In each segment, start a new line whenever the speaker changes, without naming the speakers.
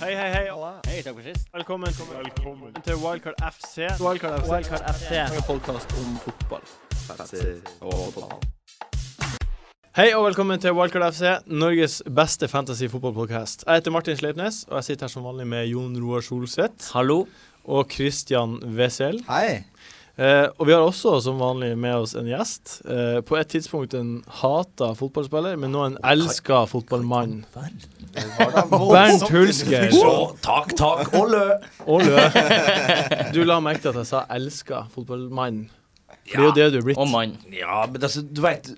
Hei, hei, hei.
Hei, takk for sist.
Velkommen, til Wildcard FC.
Wildcard FC.
Wildcard FC.
En podkast om fotball.
Hei og velkommen til Wildcard FC, Norges beste fantasy-fotballpodkast. Jeg heter Martin Sleipnes, og jeg sitter her som vanlig med Jon Roar Solseth
Hallo.
og Christian Wesel.
Hei.
Eh, og vi har også som vanlig med oss en gjest. Eh, på et tidspunkt en hata fotballspiller, men nå en elska fotballmann. Bernt Hulsker.
tak, tak, olle!
Ålø. Du la merke til at jeg sa 'elska fotballmann'. For det er jo det du er blitt.
Og mann.
Ja, men altså, du vet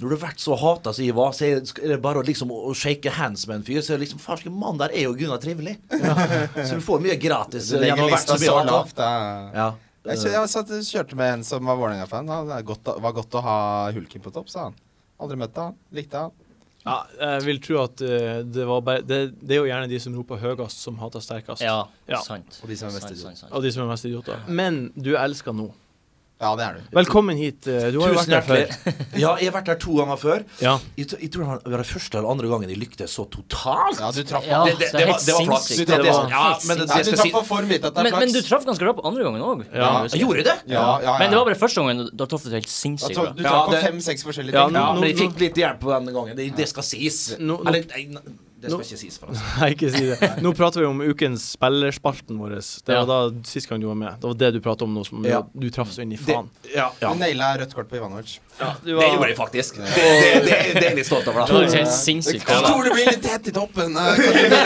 Når du har vært så hata som jeg var, så er det- er det bare å liksom å shake hands med en fyr. Så er det liksom Farske mann der er jo Gunnar Trivelig. Så du får mye gratis. eh,
Du legger
gjennom å ha vært
lista
så mye
så
hatet.
lavt. da.
Ja. Eh,
Jeg, kjø- jeg satt, kjørte med en som var Vålerenga-fan. Han er godt å- var godt å ha Hulken på topp, sa han. Aldri møtt han. Likte han.
Ja, jeg vil tro at eh, det var bare det, det er jo gjerne de som roper høyest, som hater sterkest.
Ja,
Ja.
sant.
Og de som er mest
Sant,
idioter.
sant, sant.
Og de som er mest idioter. Men du er elska nå.
Ja, det er du.
Velkommen hit. eh, Du har jo
Tusen
vært her før.
hjertelig. Ja, jeg har vært her to ganger før.
Ja.
Jeg, tror- jeg tror det var- det var det første eller andre gangen jeg lyktes så totalt.
Ja, Ah, du traff
Ja,
ja.
det, det, det, var, det var flaks. Det-
sinnssykt.
Det
det-
var-
ja, men det,
Nei,
jeg
du
skal
traff
si
for for vidt at det
Men,
er flaks.
men du traff ganske bra på andre gangen òg.
Ja.
Jeg Gjorde jeg det?
Ja, ja, ja.
Men det var bare første gangen. Da traff du helt sinnssykt
Da traff-
bra.
Du
Ja,
traff på
det-
fem-seks forskjellige
Ja,
ting.
nå-
Ja,
nå-
men jeg fikk litt hjelp på denne gangen. Det, det skal sies.
Nå- nå-
Eller, nei, nei, det skal
nå-
ikke sies, forresten.
Nei, ikke si det. Nå prater vi om ukens spillerspalten vår. Det var da sist gang du var med. Det var det du pratet om nå, som
Ja.
du traff så inn i
Det,
faen.
ja, ja.
Du naila rødt kort på Ivanovic.
Du
det gjorde jeg faktisk. Det, det, det, det er jeg litt stolt
Det
over.
var
Da.
helt sinnssykt
Jeg
bra.
tror det blir litt tett i toppen. eh,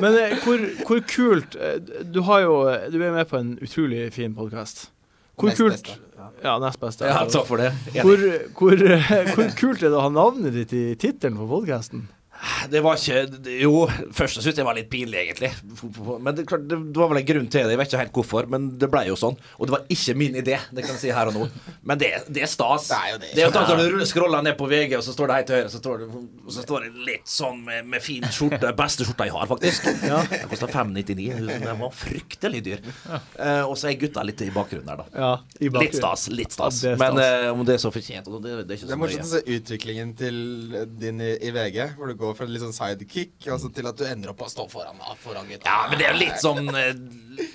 Men eh, hvor, hvor kult eh, Du har jo Du er med på en utrolig fin podkast. Hvor
Nest
kult
beste.
Ja, nest beste.
Ja, takk for det. Enig.
Hvor, hvor, eh, hvor kult er det å ha navnet ditt i tittelen på podkasten?
Det var ikke det- Jo, først syntes jeg det var litt pinlig, egentlig. Men det, er klart, det det var vel en grunn til det. Jeg vet ikke helt hvorfor, men det ble jo sånn. Og det var ikke min idé, det kan jeg si her og nå. Men det, det er stas.
Det er jo det.
er jo takk når du ruller- scroller ned på VG, og så står det helt til høyre, så står det, og så står det litt sånn med, med fin skjorte. Beste skjorta jeg har, faktisk. Den kosta 599. Den var fryktelig dyr. Eh, og så er gutta litt i bakgrunnen der, da.
Ja, i bakgrunnen.
Litt stas. Litt stas.
Ja, det er
Men
stas.
eh, om det er så fortjent, og det, det er ikke så
Det er morsomt å
nøye.
se utviklingen til din i, i VG, hvor du går fra litt sånn sidekick og så til at du ender opp å stå foran, da, foran gutta.
Ja, men det er jo litt sånn eh,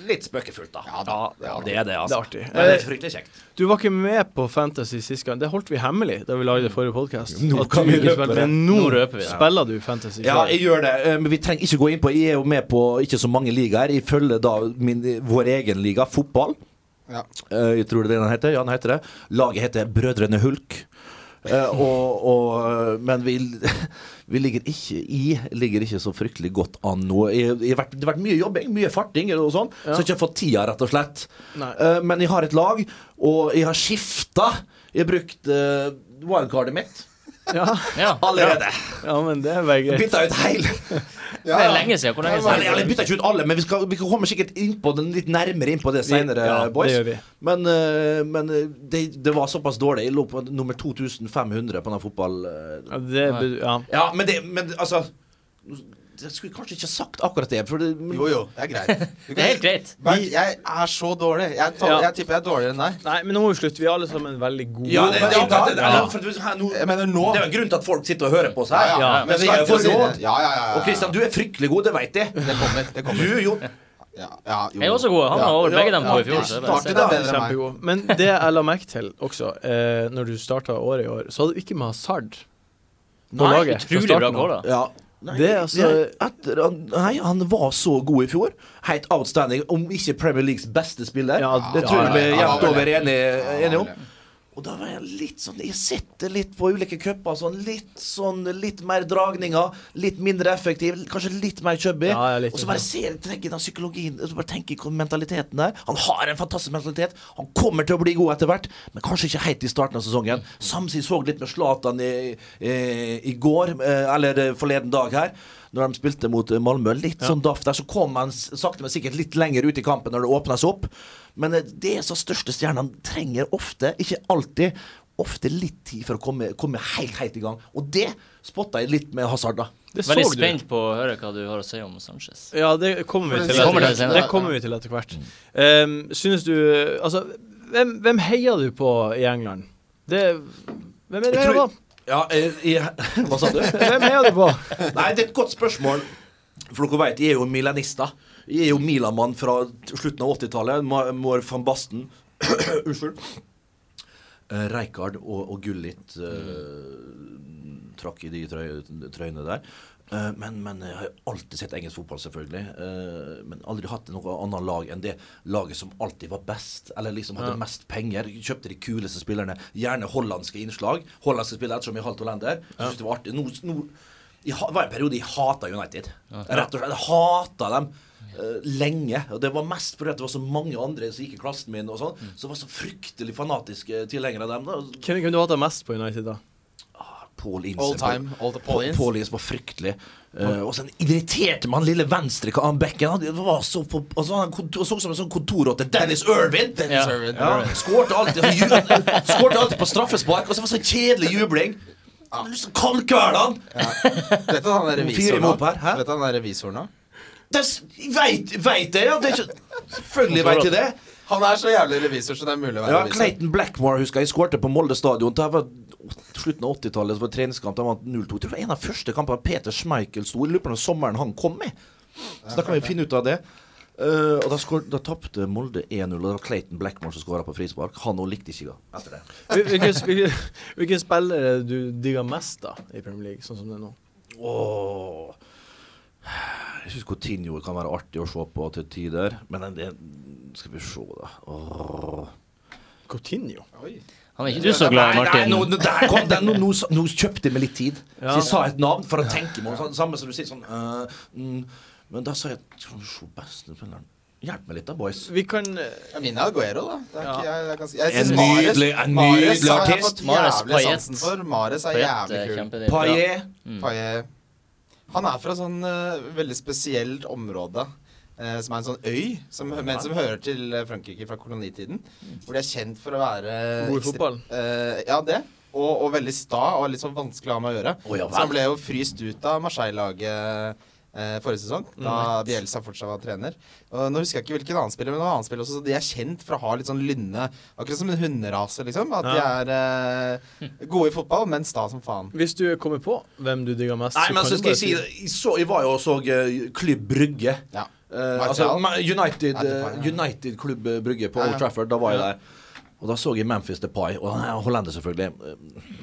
Litt spøkefullt, da.
Ja, da.
ja, det er det,
Det
altså.
er artig.
Men det er fryktelig kjekt.
Du var ikke med på Fantasy sist gang. Det holdt vi hemmelig da vi lagde forrige podkast. Nå
kan vi røpe det.
Men nå,
Nå røper vi det.
spiller du Fantasy.
Ja,
selv.
jeg gjør det, eh, men vi trenger ikke gå inn på Jeg er jo med på ikke så mange ligaer. Jeg følger da min, vår egen liga, fotball.
Ja.
Eh, Jeg tror det er det den heter. Ja, den heter det. Laget heter Brødrene Hulk. Eh, og, og, eh, men vi, vi ligger ikke i ligger ikke så fryktelig godt an nå. Jeg, jeg har vært, det har vært mye jobbing, mye farting og sånn, så jeg har ikke fått tida, rett og slett.
Nei.
Eh, men jeg har et lag, og jeg har skifta. Jeg har brukt eh, wildcardet mitt
Ja.
Ja.
allerede.
ja, men det er bare greit.
Bytta ut hele
Ja,
Det er
ja.
lenge siden. Hvor lenge
Ja,
Eller,
siden?
men-
eller bytter ikke ut alle, men vi, skal, vi kan komme sikkert inn på den litt nærmere inn på det senere,
Ja,
boys.
det gjør vi.
Men, eh, men eh, det, det var såpass dårlig. Jeg lå på nummer 2500 på den fotball... eh.
Ja, det er, be- ja.
Ja, men det Men altså Jeg skulle kanskje ikke sagt akkurat det. For det men,
Jo, jo, det er greit. Du
Det er helt greit.
Bernt, jeg er så dårlig. Jeg, tå-
Ja.
jeg tipper jeg er dårligere enn deg.
Nei, men nå må vi slutte. Vi er alle sammen veldig gode.
Ja, det, det,
Jo, men-
det, det,
Ja.
for du- her, nå,
Jeg mener nå.
det er jo en grunn til at folk sitter og hører på oss her.
ja.
Men
vi
vi er jo
skal
for
si det.
råd.
Ja, ja, ja, ja.
Og Kristian, du er fryktelig god, det veit jeg.
Det kommer. Det
Du,
kommer.
jo.
Ja, ja, jo.
Jeg er også god. Han var over
Ja,
begge dem
Ja,
to i fjor.
du
Så det er bare å si.
startet da bedre enn meg.
Kjempegod. Men det jeg la merke til også, eh, når du starta året i år, så hadde du ikke med Hazard på
Nei,
laget. fra
Utrolig bra
starten av.
gål, da.
Ja.
Det er altså-
etter, han- Nei, han var så god i fjor. Helt outstanding, om ikke Premier Leagues beste spiller.
Ja,
det tror jeg vi
ja,
er
ja,
jevnt
ja.
over
Ja,
enige enige om.
eller-
Og da var jeg litt sånn Jeg sitter litt på ulike cuper. Sånn, litt sånn Litt mer dragninger. Litt mindre effektiv. Kanskje litt mer chubby.
Ja, ja, litt
og så bare ser jeg tenker den psykologien og så bare tenker jeg på mentaliteten der. Han har en fantastisk mentalitet. Han kommer til å bli god etter hvert, men kanskje ikke helt i starten av sesongen. Samtidig så jeg litt med Zlatan i, eh, i går, eh, eller eh, forleden dag her. Når de spilte mot eh, Malmö. Litt sånn daff der. Så kom han s- sakte, men sikkert litt lenger ut i kampen når det åpnes opp. Men eh, det er så største stjernene trenger ofte, ikke alltid, ofte litt tid for å komme, komme helt, helt i gang. Og det spotta jeg litt med Hazard, da.
Det så
Veldig
du.
spent på å høre hva du har å si om Sanchez.
Ja, det kommer vi
Det
til
kommer det
etter hvert.
senere.
Det kommer vi til etter hvert. Um, synes du Altså, hvem, hvem heier du på i England? Det Hvem er det du
Jeg
heier på?
tror- Ja, eh, jeg, hva sa du?
Hvem heier du på?
Nei, det er et godt spørsmål. For dere vet, jeg er jo milanister. Jeg er jo Milan-mann fra slutten av 80-tallet. Ma- Moore van Basten Unnskyld. Eh, Rijkaard og, og Gullit eh, trakk i de trøy, trøyene der. Eh, men, men jeg har jo alltid sett engelsk fotball, selvfølgelig. Eh, men aldri hatt noe annet lag enn det laget som alltid var best, eller liksom hadde mest penger. Kjøpte de kuleste spillerne. Gjerne hollandske innslag. Hollandske spillere ettersom jeg er halvt hollender. Jeg synes det var artig. Nå, nå, jeg, ha- det var en periode jeg hata United. Rett og slett. Jeg hata dem eh, lenge. Og det var mest fordi at det var så mange andre som gikk i klassen min, og sånn,
Mm.
som var så fryktelig fanatiske tilhengere av dem. da.
Hvem hvem du hater mest på United, da?
Ah, Paul Ince.
All time, all the
Paul,
Paulins.
Paul Ince var liksom fryktelig. Eh, og så irriterte man lille venstre han bekken. Han var så på, og så var han kontor, så ut som en sånn kontorrotte. Dennis Irvin!
Ja.
Servant.
Ja, skårte alltid, og ju- skårte alltid på straffespark, og så var det så kjedelig jubling. Jeg hadde lyst til å kalle kveldene!
Vet du han er
Fyr
revisoren
dem opp
nå?
her, hæ?
Vet du han er revisoren nå?
Det er s- Veit, veit det, ja! Det er ikke, selvfølgelig veit jeg det.
Han er så jævlig revisor, så det er mulig å være
Ja,
revisor.
Clayton Blackmore husker jeg skårte på Molde stadion. Det var åt- slutten av 80-tallet, så var det treningskamp. De vant 0-2. Jeg tror det var en av første kampene Peter Schmeichel sto i. Jeg Lurer på når sommeren han kom med. Så da kan vi finne ut av det. Eh, og Da, skår- da tapte Molde 1-0, og det var Clayton Blackmore som skåra på frispark. Han òg likte ikke det etter det.
Hvil- Hvilken hvilken- hvilken spiller er det du digger mest da i Premier League, sånn som det er nå?
Åh. Jeg syns Coutinho kan være artig å se på til tider, men det Skal vi se, da. Åh.
Coutinho?
Oi.
Han er ikke du så glad i,
Nei,
Martin?
nå, nå- der kom den. Nå, nå, nå kjøpte jeg meg litt tid.
Ja.
Så jeg sa et navn for å tenke meg om. sånn- Samme som du sier sånn øh, mm, Men da sa jeg Skal vi se beste spilleren Hjelp meg litt, da, boys.
Vi kan eh,
Ja, Min er Aguero, da. Det er ikke, jeg, jeg kan si. jeg
En
synes Mahrez-
nydelig- en
Mahrez
nydelig
har jeg
artist.
fått
Mahrez,
jævlig
Payet.
sansen for. Mares er
Payet,
jævlig
eh,
kul.
kjempedriv.
Paillet.
Payet. Han er fra sånn eh, veldig spesielt område. eh, som er en sånn øy, som, men som hører til eh, Frankrike fra kolonitiden.
Mm.
Hvor de er kjent for å være
God i
ekstre-
fotball.
eh, ja, det. Og, og veldig sta og litt sånn vanskelig å ha med å gjøre.
Å, ja vel.
så han ble jo fryst ut av Marseille-laget eh, forrige sesong,
Mm.
da Bielsa fortsatt var trener. Og nå husker jeg ikke hvilken annen spiller, men det var en annen spiller også, så de er kjent for å ha litt sånn lynne Akkurat som en hunderase, liksom. At de er eh, gode i fotball, men sta som faen.
Hvis du kommer på hvem du digger mest,
Nei, men
kan
så
du
skal
bare
jeg si jeg, så, jeg var jo og så eh, Klubb Brygge.
Ja.
Eh,
Martial.
altså, Ma- United,
Ja, det var,
eh,
ja.
United Klubb Brygge på
Ja, ja.
Old Trafford. Da var jeg der. Og da så jeg Memphis Depay, og han er hollender selvfølgelig.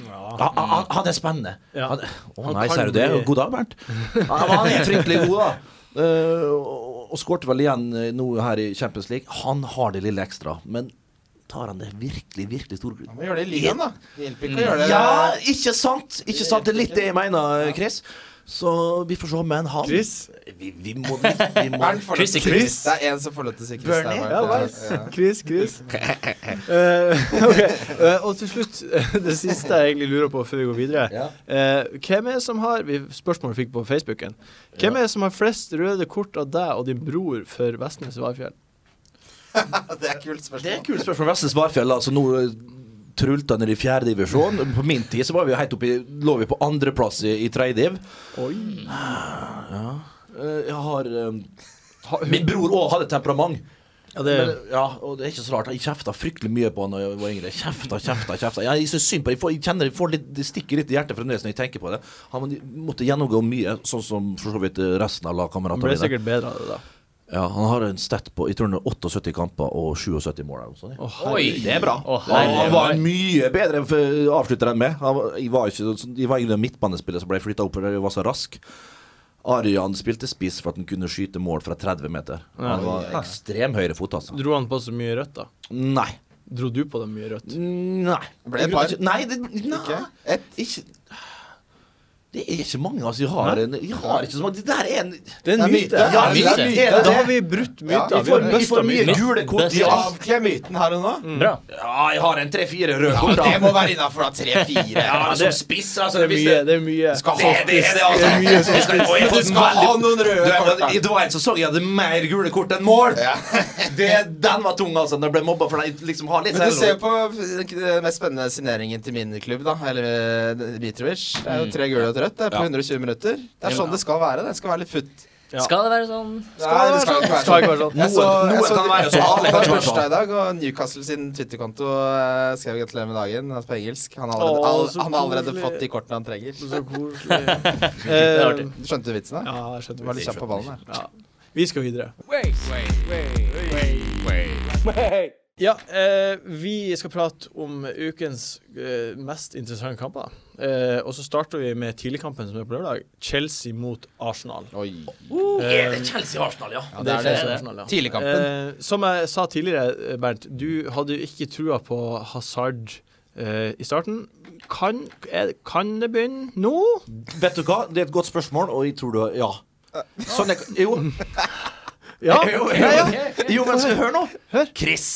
Han, han, han er spennende.
Ja.
Han, å
Han
nei,
kan
ser du det?
bli-
God dag, Bernt. Ja, men han er fryktelig god, da. Eh, og og skårte vel igjen eh, nå her i Champions League. Han har det lille ekstra, men tar han det virkelig, virkelig store
Man må gjøre det i ligaen, da. Det hjelper ikke å gjøre det
ja, ikke sant? Ikke sant? Det er litt det jeg mener, Chris. Så vi får se, men han
Chris?
Vi, vi må, vi må
Er den forløpt
Chris i
til
Chris.
Det er en som forlot til Chris.
Bernie?
Ja, nice. Chris, Chris. Eh, ok, eh, og til slutt, det siste jeg egentlig lurer på før vi går videre.
Ja.
Eh, hvem er det som har vi, Spørsmålet vi fikk på Facebooken. Hvem er det som har flest røde kort av deg og din bror for Vestnes Varfjell?
Det er et
Det er
kult
et
spørsmål.
kult spørsmål. Vestnes Varfjell, altså nå eh, trulte han ned i fjerde divisjon. På min tid så var vi helt oppe i, lå vi på andreplass i, i tredje div.
Oi.
Eh, Jeg har eh, ha, Min bror òg hadde temperament.
Ja, det er
Men, ja, og det er ikke så rart. Jeg kjefta fryktelig mye på han da jeg var yngre. Kjefta, kjefta, kjefta. Jeg, jeg synes synd på jeg, får, jeg kjenner jeg får litt, Det stikker litt i hjertet fremdeles når jeg tenker på det. Han måtte gjennomgå mye, sånn som for så vidt resten av
Han
lagkameratene
ble
mine.
sikkert bedre av det, da.
Ja, han har en stat på jeg tror det er 78 kamper og 77 mål. Eller noe sånt.
Å,
Oi,
herregud.
det er bra. Å,
Ja, han var en
herregud.
mye bedre f- avslutter enn meg. Han var, jeg var ikke sånn- jeg var egentlig en midtbanespiller som ble flytta opp fordi jeg var så rask. Arian spilte spiss for at han kunne skyte mål fra 30 meter. Han var ekstrem høyrefot, altså.
Dro han på så mye rødt, da?
Nei.
Dro du på det mye rødt?
Nei.
Ble det et par?
Nei, det, nei.
Ikke?
Ikke Det er ikke mange, altså. Jeg har, en, jeg har ikke så mange. Det der er en
Det er en myte.
myte.
Ja,
det er
myte.
myte.
Ja, Da har vi brutt myter.
Ja,
vi har
Vi får
mistet myter.
mye gule kort.
Best-
Ja,
Avkle myten her og nå.
Mm.
Bra.
ja, jeg har en tre-fire røde
Ja,
kort.
men
da.
det må være innafor, da. Tre-fire.
Ja, men som
det-
spiss, altså.
Det er
hvis
mye. Det er mye.
Du skal
Det,
ha
det er det, altså. Jeg skal- og jeg har
Du
fått
skal
veldig-
ha noen
Du,
røde
jeg
kort.
hadde- Det var en sesong jeg hadde mer gule kort enn mål. Det, den var tung, altså. Når jeg ble mobba for det. Liksom, har litt
Men
selvråd.
du ser på eh, den mest spennende signeringen til min klubb, da. Eller eh, Mitrovic. Det er jo tre gule og et rødt. Det er på
Mm. Ja.
120 minutter. Det er sånn det skal være. Det skal være litt futt.
Ja.
Skal det være sånn?
Nei, det skal ikke være
Skal
sånn.
ikke være sånn.
Jeg så,
Noe-
jeg
noe
så
kan være sånn.
Alle
Kan
har
være
bursdag
sånn.
i dag, og Newcastle sin Twitter-konto eh, skrev 'gratulerer med dagen' altså på engelsk. Han har allerede,
Å,
all,
så
han har allerede
koselig.
fått de kortene han trenger.
Så koselig.
Eh,
Eh,
artig.
Du skjønte vitsen, da?
ja, jeg skjønte
Du var litt kjapp på ballen her.
Ja. Vi skal videre. Ja, eh, vi skal prate om ukens eh, mest interessante kamper. Eh, og så starter vi med tidligkampen som er på lørdag. Chelsea mot Arsenal.
Oi.
Er det Chelsea-Arsenal, ja?
Ja, det er det.
Chelsea
det.
Arsenal, sånn, ja.
Tidligkampen.
Eh, som jeg sa tidligere, eh, Bernt, du hadde jo ikke trua på Hazard eh, i starten. Kan, er, kan det begynne nå?
Vet du hva, det er et godt spørsmål, og jeg tror du ja. Sånn er, jo,
Ja.
jo, jo,
ja, ja.
jo, men skal du høre nå?
Hør.
Chris.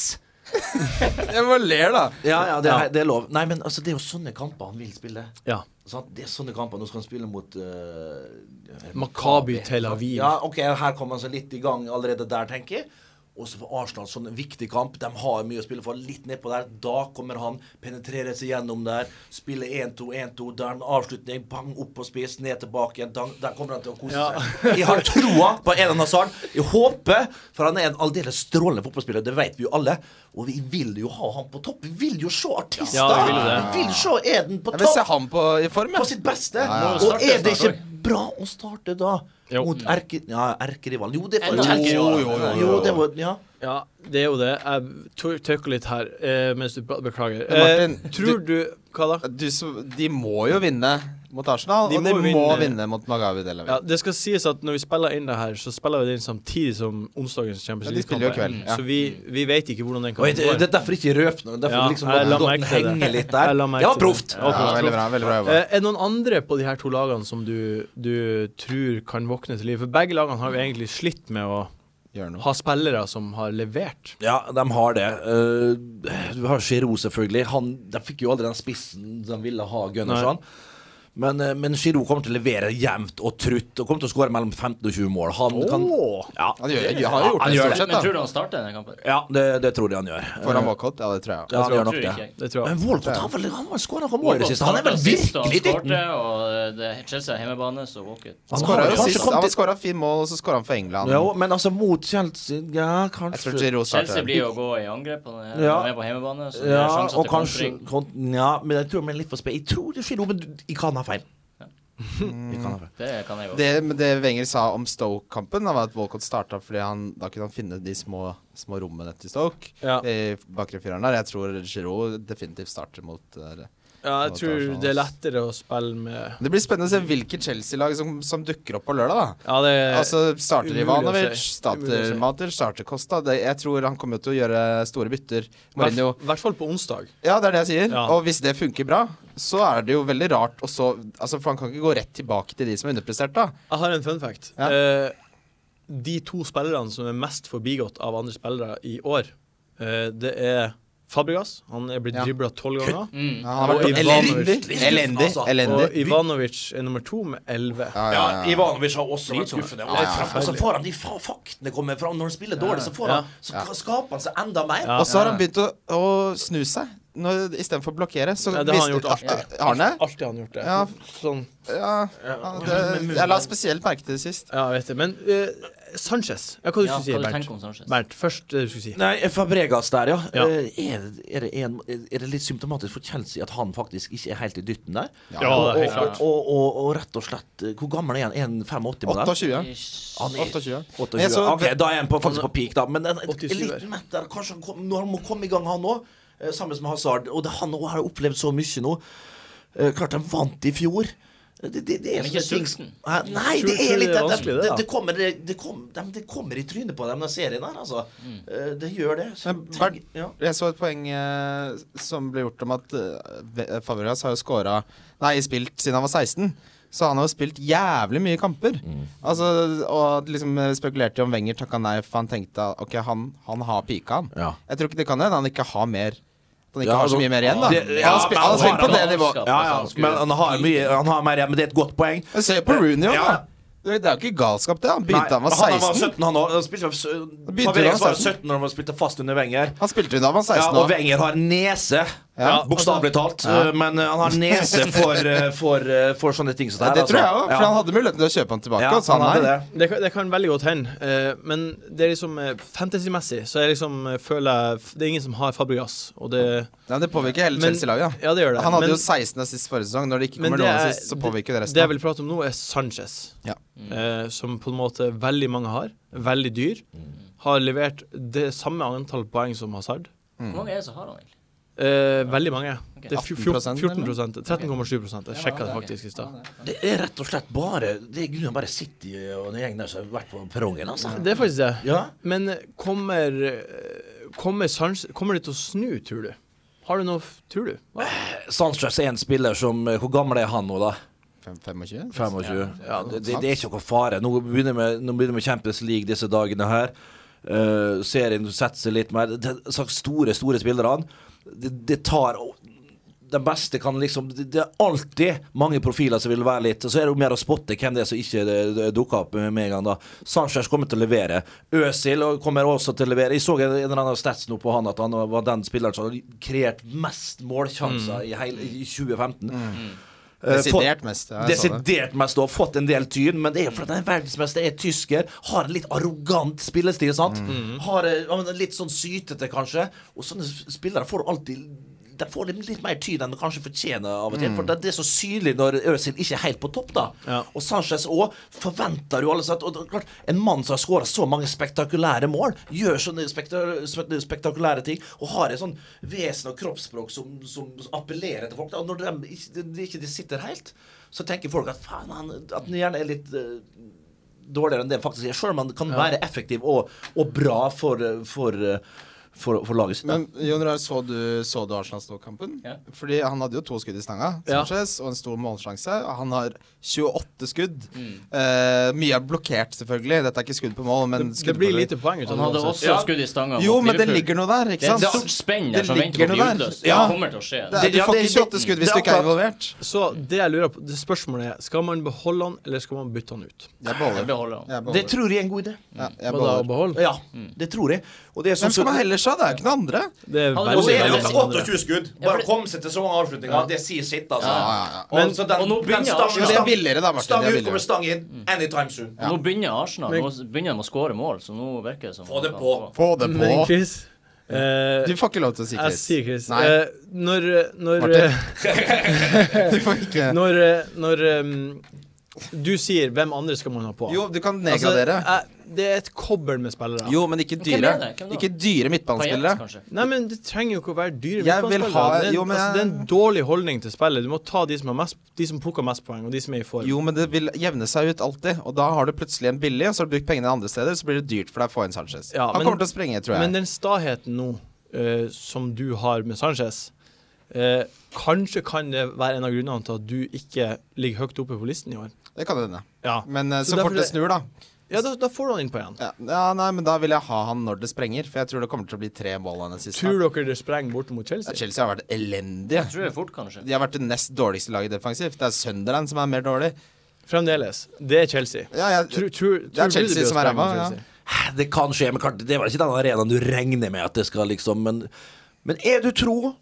Jeg bare ler, da.
Ja, ja, det er, det er lov. Nei, men altså, det er jo sånne kamper han vil spille.
ja.
Sant? Det er sånne kamper. Nå skal han spille mot eh,
Maccabi Tel Aviv.
Ja, ok, Her kom han seg litt i gang allerede der, tenker jeg. Og så for Arsenal, sånn en viktig kamp. De har mye å spille for. Litt nedpå der. Da kommer han, penetrerer seg gjennom der. Spiller 1-2, 1-2. Der en avslutning. Bang, opp på spiss, ned tilbake igjen. Der, der kommer han til å kose
Ja.
seg. Jeg har troa på Elan Hazard. Jeg håper, for han er en aldeles strålende fotballspiller. Det vet vi jo alle. Og vi vil jo ha han på topp. Vi vil jo se artister!
Ja, vi vil jo det.
vi vil se Eden på
Jeg vil
topp!
se han på, i form,
på
jeg.
sitt beste.
ja,
ja.
Og er det
Starte
ikke
snart,
bra å starte da?
Jo.
Mot erke, ja, erkerivalen Jo, det er
Jo,
faktisk erkerivalen.
jo, jo, jo.
Jo, det var Ja.
Ja, det er jo det. Jeg tøkker litt her eh, mens du pra- beklager.
Men Martin,
eh, tror du Hva da?
Du, så- de må jo vinne mot Arsenal,
De
og de
må
må vinne,
vinne.
mot Magavi Del Aviv.
Ja, det skal sies at når vi spiller inn det her, så spiller vi det inn samtidig som onsdagens Champions
Ja, de spiller jo
League-kamp er.
kveld, ja.
Så vi, vi vet ikke hvordan den
Og
kampen
det, det
går.
er derfor ikke røp nå. Derfor
Ja,
liksom
jeg la
la
merke
den
til det.
henge
Jeg
litt der.
la merke
Det var
til det.
proft.
Ja, proft.
veldig bra. veldig bra jobba.
Eh, er det noen andre på de her to lagene som du, du tror kan våkne til liv? For begge lagene har jo egentlig slitt med å
Gjør noe.
ha spillere som har levert.
Ja, de har det. Eh, du har Giroud, selvfølgelig. Han, de fikk jo aldri den spissen de ville ha, Gunnarsson. Men, eh, men Giroud kommer til å levere jevnt og trutt og kommer til å skåre mellom 15 og 20 mål. Han kan
Åh.
Ja,
Han gjør, han har jo gjort
Han
det
gjør
stort
det.
sett,
Men tror
da.
du han starter denne kampen?
ja det, det tror jeg han gjør. Eh,
Foran Walcott. Ja, det tror jeg.
Ja, han gjør nok
Tror
det.
ikke jeg.
Det tror jeg.
Men Walcott har vel han var skåra for mål i det siste. Han er vel
Walcott startet
virkelig
sist, og han
dytten.
skårte, Og eh, det er Chelsea er hjemmebane, så Walcott
Han
Han
har
skåra
jo
jo
kanskje
sist.
kommet
Han
til-
skåra fint mål, og så skåra han for England.
Ja, men altså mot Chelsea Ja,
Jeg tror
kanskje
Giroud starter.
Chelsea blir jo å gå i angrep på den,
Ja.
når de er på hjemmebane. Så det
ja,
er sjanser
og
til
kanskje
kontring.
kon- Ja, men jeg tror vi er litt for spe... Jeg tror det skjer noe, men du- jeg kan ha feil. Jeg kan ha feil.
Det kan jeg òg.
Det, men det Wenger sa om Stoke-kampen, da var at Walcott starta fordi han, da kunne han finne de små, små rommene til Stoke.
Ja.
I bakre fireren der. Jeg tror Giroud definitivt starter mot eh, det.
Ja, jeg tror det er lettere å spille med
Det blir spennende å se hvilke Chelsea-lag som, som dukker opp på lørdag. da
Ja, det
Altså Starter
Eh, umulig å si.
Ivanovic,
Umulig å
starter
si.
Mater, starter Costa. Det, jeg tror han kommer til å gjøre store bytter.
hvert,
Mourinho
hvert fall på onsdag.
Ja, det er det jeg sier.
Ja.
Og hvis det funker bra, så er det jo veldig rart å så altså, For han kan ikke gå rett tilbake til de som er underprestert, da.
Jeg har en fun fact.
Ja.
Eh, de to spillerne som er mest forbigått av andre spillere i år, eh, det er Fabregas. Han er blitt
Ja.
dribla tolv ganger.
Han
Mm.
har
Og
vært
Ivanovic.
elendig. Elendig.
Altså,
Og
elendig.
Ivanovic er nummer to med elleve.
Ja, ja, ja.
Ivanovic har også vært skuffende. Og,
ja,
og så får han de fa faktene kommer fram. Når han spiller dårlig, så, får han, så ka- skaper han seg enda mer.
Ja.
Og så har han begynt å, å snu seg. Når- Istedenfor å blokkere. Så
Ja, det har han
visste-
gjort alltid.
Har han det?
Alltid har han gjort det.
Ja.
Sånn,
Ja, ja, det, jeg la spesielt merke til det sist.
ja, jeg vet det. Men eh, Sanchez Ja, hva du
Ja,
skulle si,
hva du tenker
Bernt?
om Sanchez?
Bernt, først det du skulle si.
Nei, Fabregas der, ja.
Ja.
Eh, Er, er, det en, er det litt symptomatisk for Chelsea at han faktisk ikke er helt i dytten der?
Ja, det er helt
og,
klart.
og, og, og rett og slett eh, Hvor gammel er han? 1,85-modell?
28.
Ish.
Han er
28.
28.
Men jeg så-
ok, da er han på, faktisk på peak, da. Men en, en
87 er.
liten mett der. Kanskje han kom, når han må komme i gang, han òg. Sammen med Hazard. Og det, han òg har opplevd så mye nå. Eh, Klart han vant i fjor. Det, det, det er
Men ikke
sånne ting-
sulten.
Hæ?
Tror-
Nei, det
tror
er
det er
litt det,
vanskelig,
det,
det,
det,
da.
kommer, det, kom, de, det kommer i trynet på dem, den serien her, altså. Eh, Det gjør det. Så
Men
tenk-
Bernt-
ja.
Jeg så et poeng eh, som ble gjort om at eh, Fabregas har jo scora Nei, spilt siden han var 16. Så han har jo spilt jævlig mye kamper. Altså, og liksom eh, spekulerte jo om Wenger takka nei, for han tenkte at, ok, han, han har pika, han.
Ja.
Jeg tror ikke det kan hende han ikke har mer At han ikke
Ja,
har
altså,
så mye mer igjen, da.
det- ja,
han har
men
spilt, han har
han
spilt på
har-
det nivået.
han
Ja, ja, men han har mye Han har mer, men det er et godt poeng.
Men Se på Rooney òg,
Ja.
da. Det er jo ikke galskap, det. Han begynte da han var
Nei, Han var
16.
17, han òg. Han spilte-
Begynte
Fabregas
han
var
17?
17 når han spilte fast under Venger.
Han spilte jo da han var
Ja,
16
og
òg.
Wenger har nese.
Ja.
Bokstavelig talt.
altså,
eh, Men eh, han har nese for, eh, for, eh, for sånne ting som det her.
Ja, det tror jeg òg,
altså.
for han hadde muligheten til å kjøpe han tilbake.
Ja,
og så han
hadde
nei.
det.
Det kan, det kan veldig godt hende, eh, men det er liksom eh, fantasy-messig så jeg liksom eh, føler jeg Det er ingen som har Fabregas, og det
Ja, det påvirker hele
Men-
Chelsea-laget. da.
Ja, det gjør det.
Han hadde
men,
jo 16 assist forrige sesong. Når det ikke
men
kommer
det
noen
er-
assist, så påvirker det resten.
Det jeg vil prate om nå, er Sanchez.
Ja.
Mm.
Eh, som på en måte veldig mange har. Veldig dyr.
Mm.
Har levert det samme antall poeng som Hazard.
Hvor mange er det som har han egentlig?
Eh, veldig mange.
Ok.
Det er fjo- fjo-
18%,
14 13,7 Jeg sjekka det
ok.
faktisk i stad.
Det er rett og slett bare Det er grunnen bare City og den gjengen der som har vært på perrongen, altså.
Det er faktisk det.
Ja.
Men kommer eh, Kommer, Sanchez, kommer det til å snu, tror du? Har du noe f- Tror du? Hva?
Eh, Sanchez er en spiller som eh, Hvor gammel er han nå, da?
Fem- 25?
25? Ja,
noe
det,
sånt.
det er ikke noe fare. Nå begynner vi, nå begynner vi Champions League disse dagene her. Eh, serien setter seg litt mer det, det, sagt, Store, store spillerne. Det, det tar De beste kan liksom det, det er alltid mange profiler som vil være litt Så er det jo mer å spotte hvem det er som ikke eh, dukker opp med en gang, da. Sanchez kommer til å levere. Øzil og kommer også til å levere. Jeg så en, en eller annen stats nå på han at han var den spilleren som hadde kreert mest målsjanser i, hele, i 2015. Eh, fått-
Desidert mest. Ja, jeg så det.
Desidert mest og har fått en del tyn, men det er jo fordi han er verdensmester, er tysker, har en litt arrogant spillestil, sant?
Mm.
Har eh, ja, men litt sånn sytete, kanskje. Og sånne s- spillere får alltid de får litt litt mer tyn enn de kanskje fortjener av og
Mm.
til. For det det er så synlig når Øzil ikke er helt på topp, da.
Ja.
Og Sanchez òg forventer jo alle sett. Og det er klart, en mann som har skåra så mange spektakulære mål, gjør sånne spekta spek- spektakulære ting, og har et sånn vesen og kroppsspråk som, som appellerer til folk. Da. Og når de ikke, de- de ikke de sitter helt, så tenker folk at faen, han, at han gjerne er litt eh, dårligere enn det han faktisk er. Selv om han kan være effektiv og, og bra for, eh, for, eh, for, for laget sitt. da.
Men Jon Rar, så du, så du Arsenal-ståkampen?
Ja.
Fordi han hadde jo to skudd i stanga,
Ja.
Sanchez, og en stor målsjanse. Og Han har 28 skudd. Eh, mye er blokkert, selvfølgelig. Dette er ikke skudd på mål, men
Det,
skudd
det blir
på
lite poeng ut av
Han
det
hadde
uansett.
også skudd i stanga
Jo,
mot
men det
Liverpool.
ligger noe der,
Det
ikke
er
sant?
et stort spenn der
Det
som venter på
ligger
å bli
noe der.
utløst.
Ja.
Det kommer til å skje.
Det er- du
Ja,
får
det-
ikke 28 skudd hvis
det-
du ikke er
akkurat.
involvert.
Så det jeg lurer på, det spørsmålet er Skal man beholde han, eller skal man bytte han ut?
Jeg
Jeg
beholder.
beholder han.
Jeg
Det
beholder.
tror jeg er en god idé.
Ja, jeg
Hva da, å
beholder.
beholde?
Ja, det tror jeg. Og det er
Mm. Hvem
sånn
skal man heller ha? Det er jo ikke noen andre.
Det er
Han
veldig,
er
Og så er det
veldig
jo
også
mange andre.
28 skudd.
Ja, for
Bare
det-
kom seg til sånne avslutninger. Det sier sitt, altså.
ja, ja.
Og så den-
og nå
den
begynner
stang-
Arsenal-
Det er billigere, da, Martin.
Stang
Det er
ut kommer
billigere.
stang inn anytime soon.
Nå begynner Arsenal
Men-
Nå begynner de å skåre mål, så nå virker det som
Få det
han
på.
kan få.
Få det
Men
på.
Chris eh,
Du får ikke lov til å si
Jeg
Chris.
sier Chris.
Nei.
Eh, når eh, når,
Martin.
eh,
Du får ikke
når, eh, når em, du sier 'hvem andre skal man ha på'?
Jo, du kan
Altså,
nedgradere.
jeg- det er et kobber med spillere.
Jo, men ikke
Men
dyre.
hvem er det? Hvem da?
Ikke dyre
Payet,
midtbanespillere.
kanskje.
Nei, men Det trenger jo ikke å være dyre
Jeg vil
midtbanespillere.
ha-
det, er,
jo, men
altså, det
jeg-
er en dårlig holdning til spillet. Du må ta de som, har mest, de som plukker mest poeng, og de som er i form.
Jo, men det vil jevne seg ut alltid. Og da har du plutselig en billig, og så har du brukt pengene andre steder, så blir det dyrt for deg å få inn Sanchez.
Ja,
Han
men-
kommer til å sprenge, tror
Men
jeg.
den staheten nå eh, som du har med Sanchez eh, Kanskje kan det være en av grunnene til at du ikke ligger høyt oppe på listen i år.
Det kan hende.
Ja,
Men eh,
Så
så
derfor
fort det
det-
snur, da.
ja da, da får du han innpå igjen.
Ja, ja, nei, men da vil jeg ha han når det sprenger, for jeg tror det kommer til å bli tre mål av den siste.
Tror dere det sprenger borte mot
Ja,
Chelsea?
Chelsea har vært elendige.
Jeg tror det fort kan skje.
De har vært det nest dårligste laget defensivt. Det er Sunderland som er mer dårlig.
Fremdeles. Det er Chelsea.
Ja, jeg-
Tror- tror- tror du
Chelsea
blir å
som er
sprenge mot
ræva, ja.
Chelsea?
Det kan skje, men klart, det var ikke den arenaen du regner med at det skal liksom Men, men er du tro,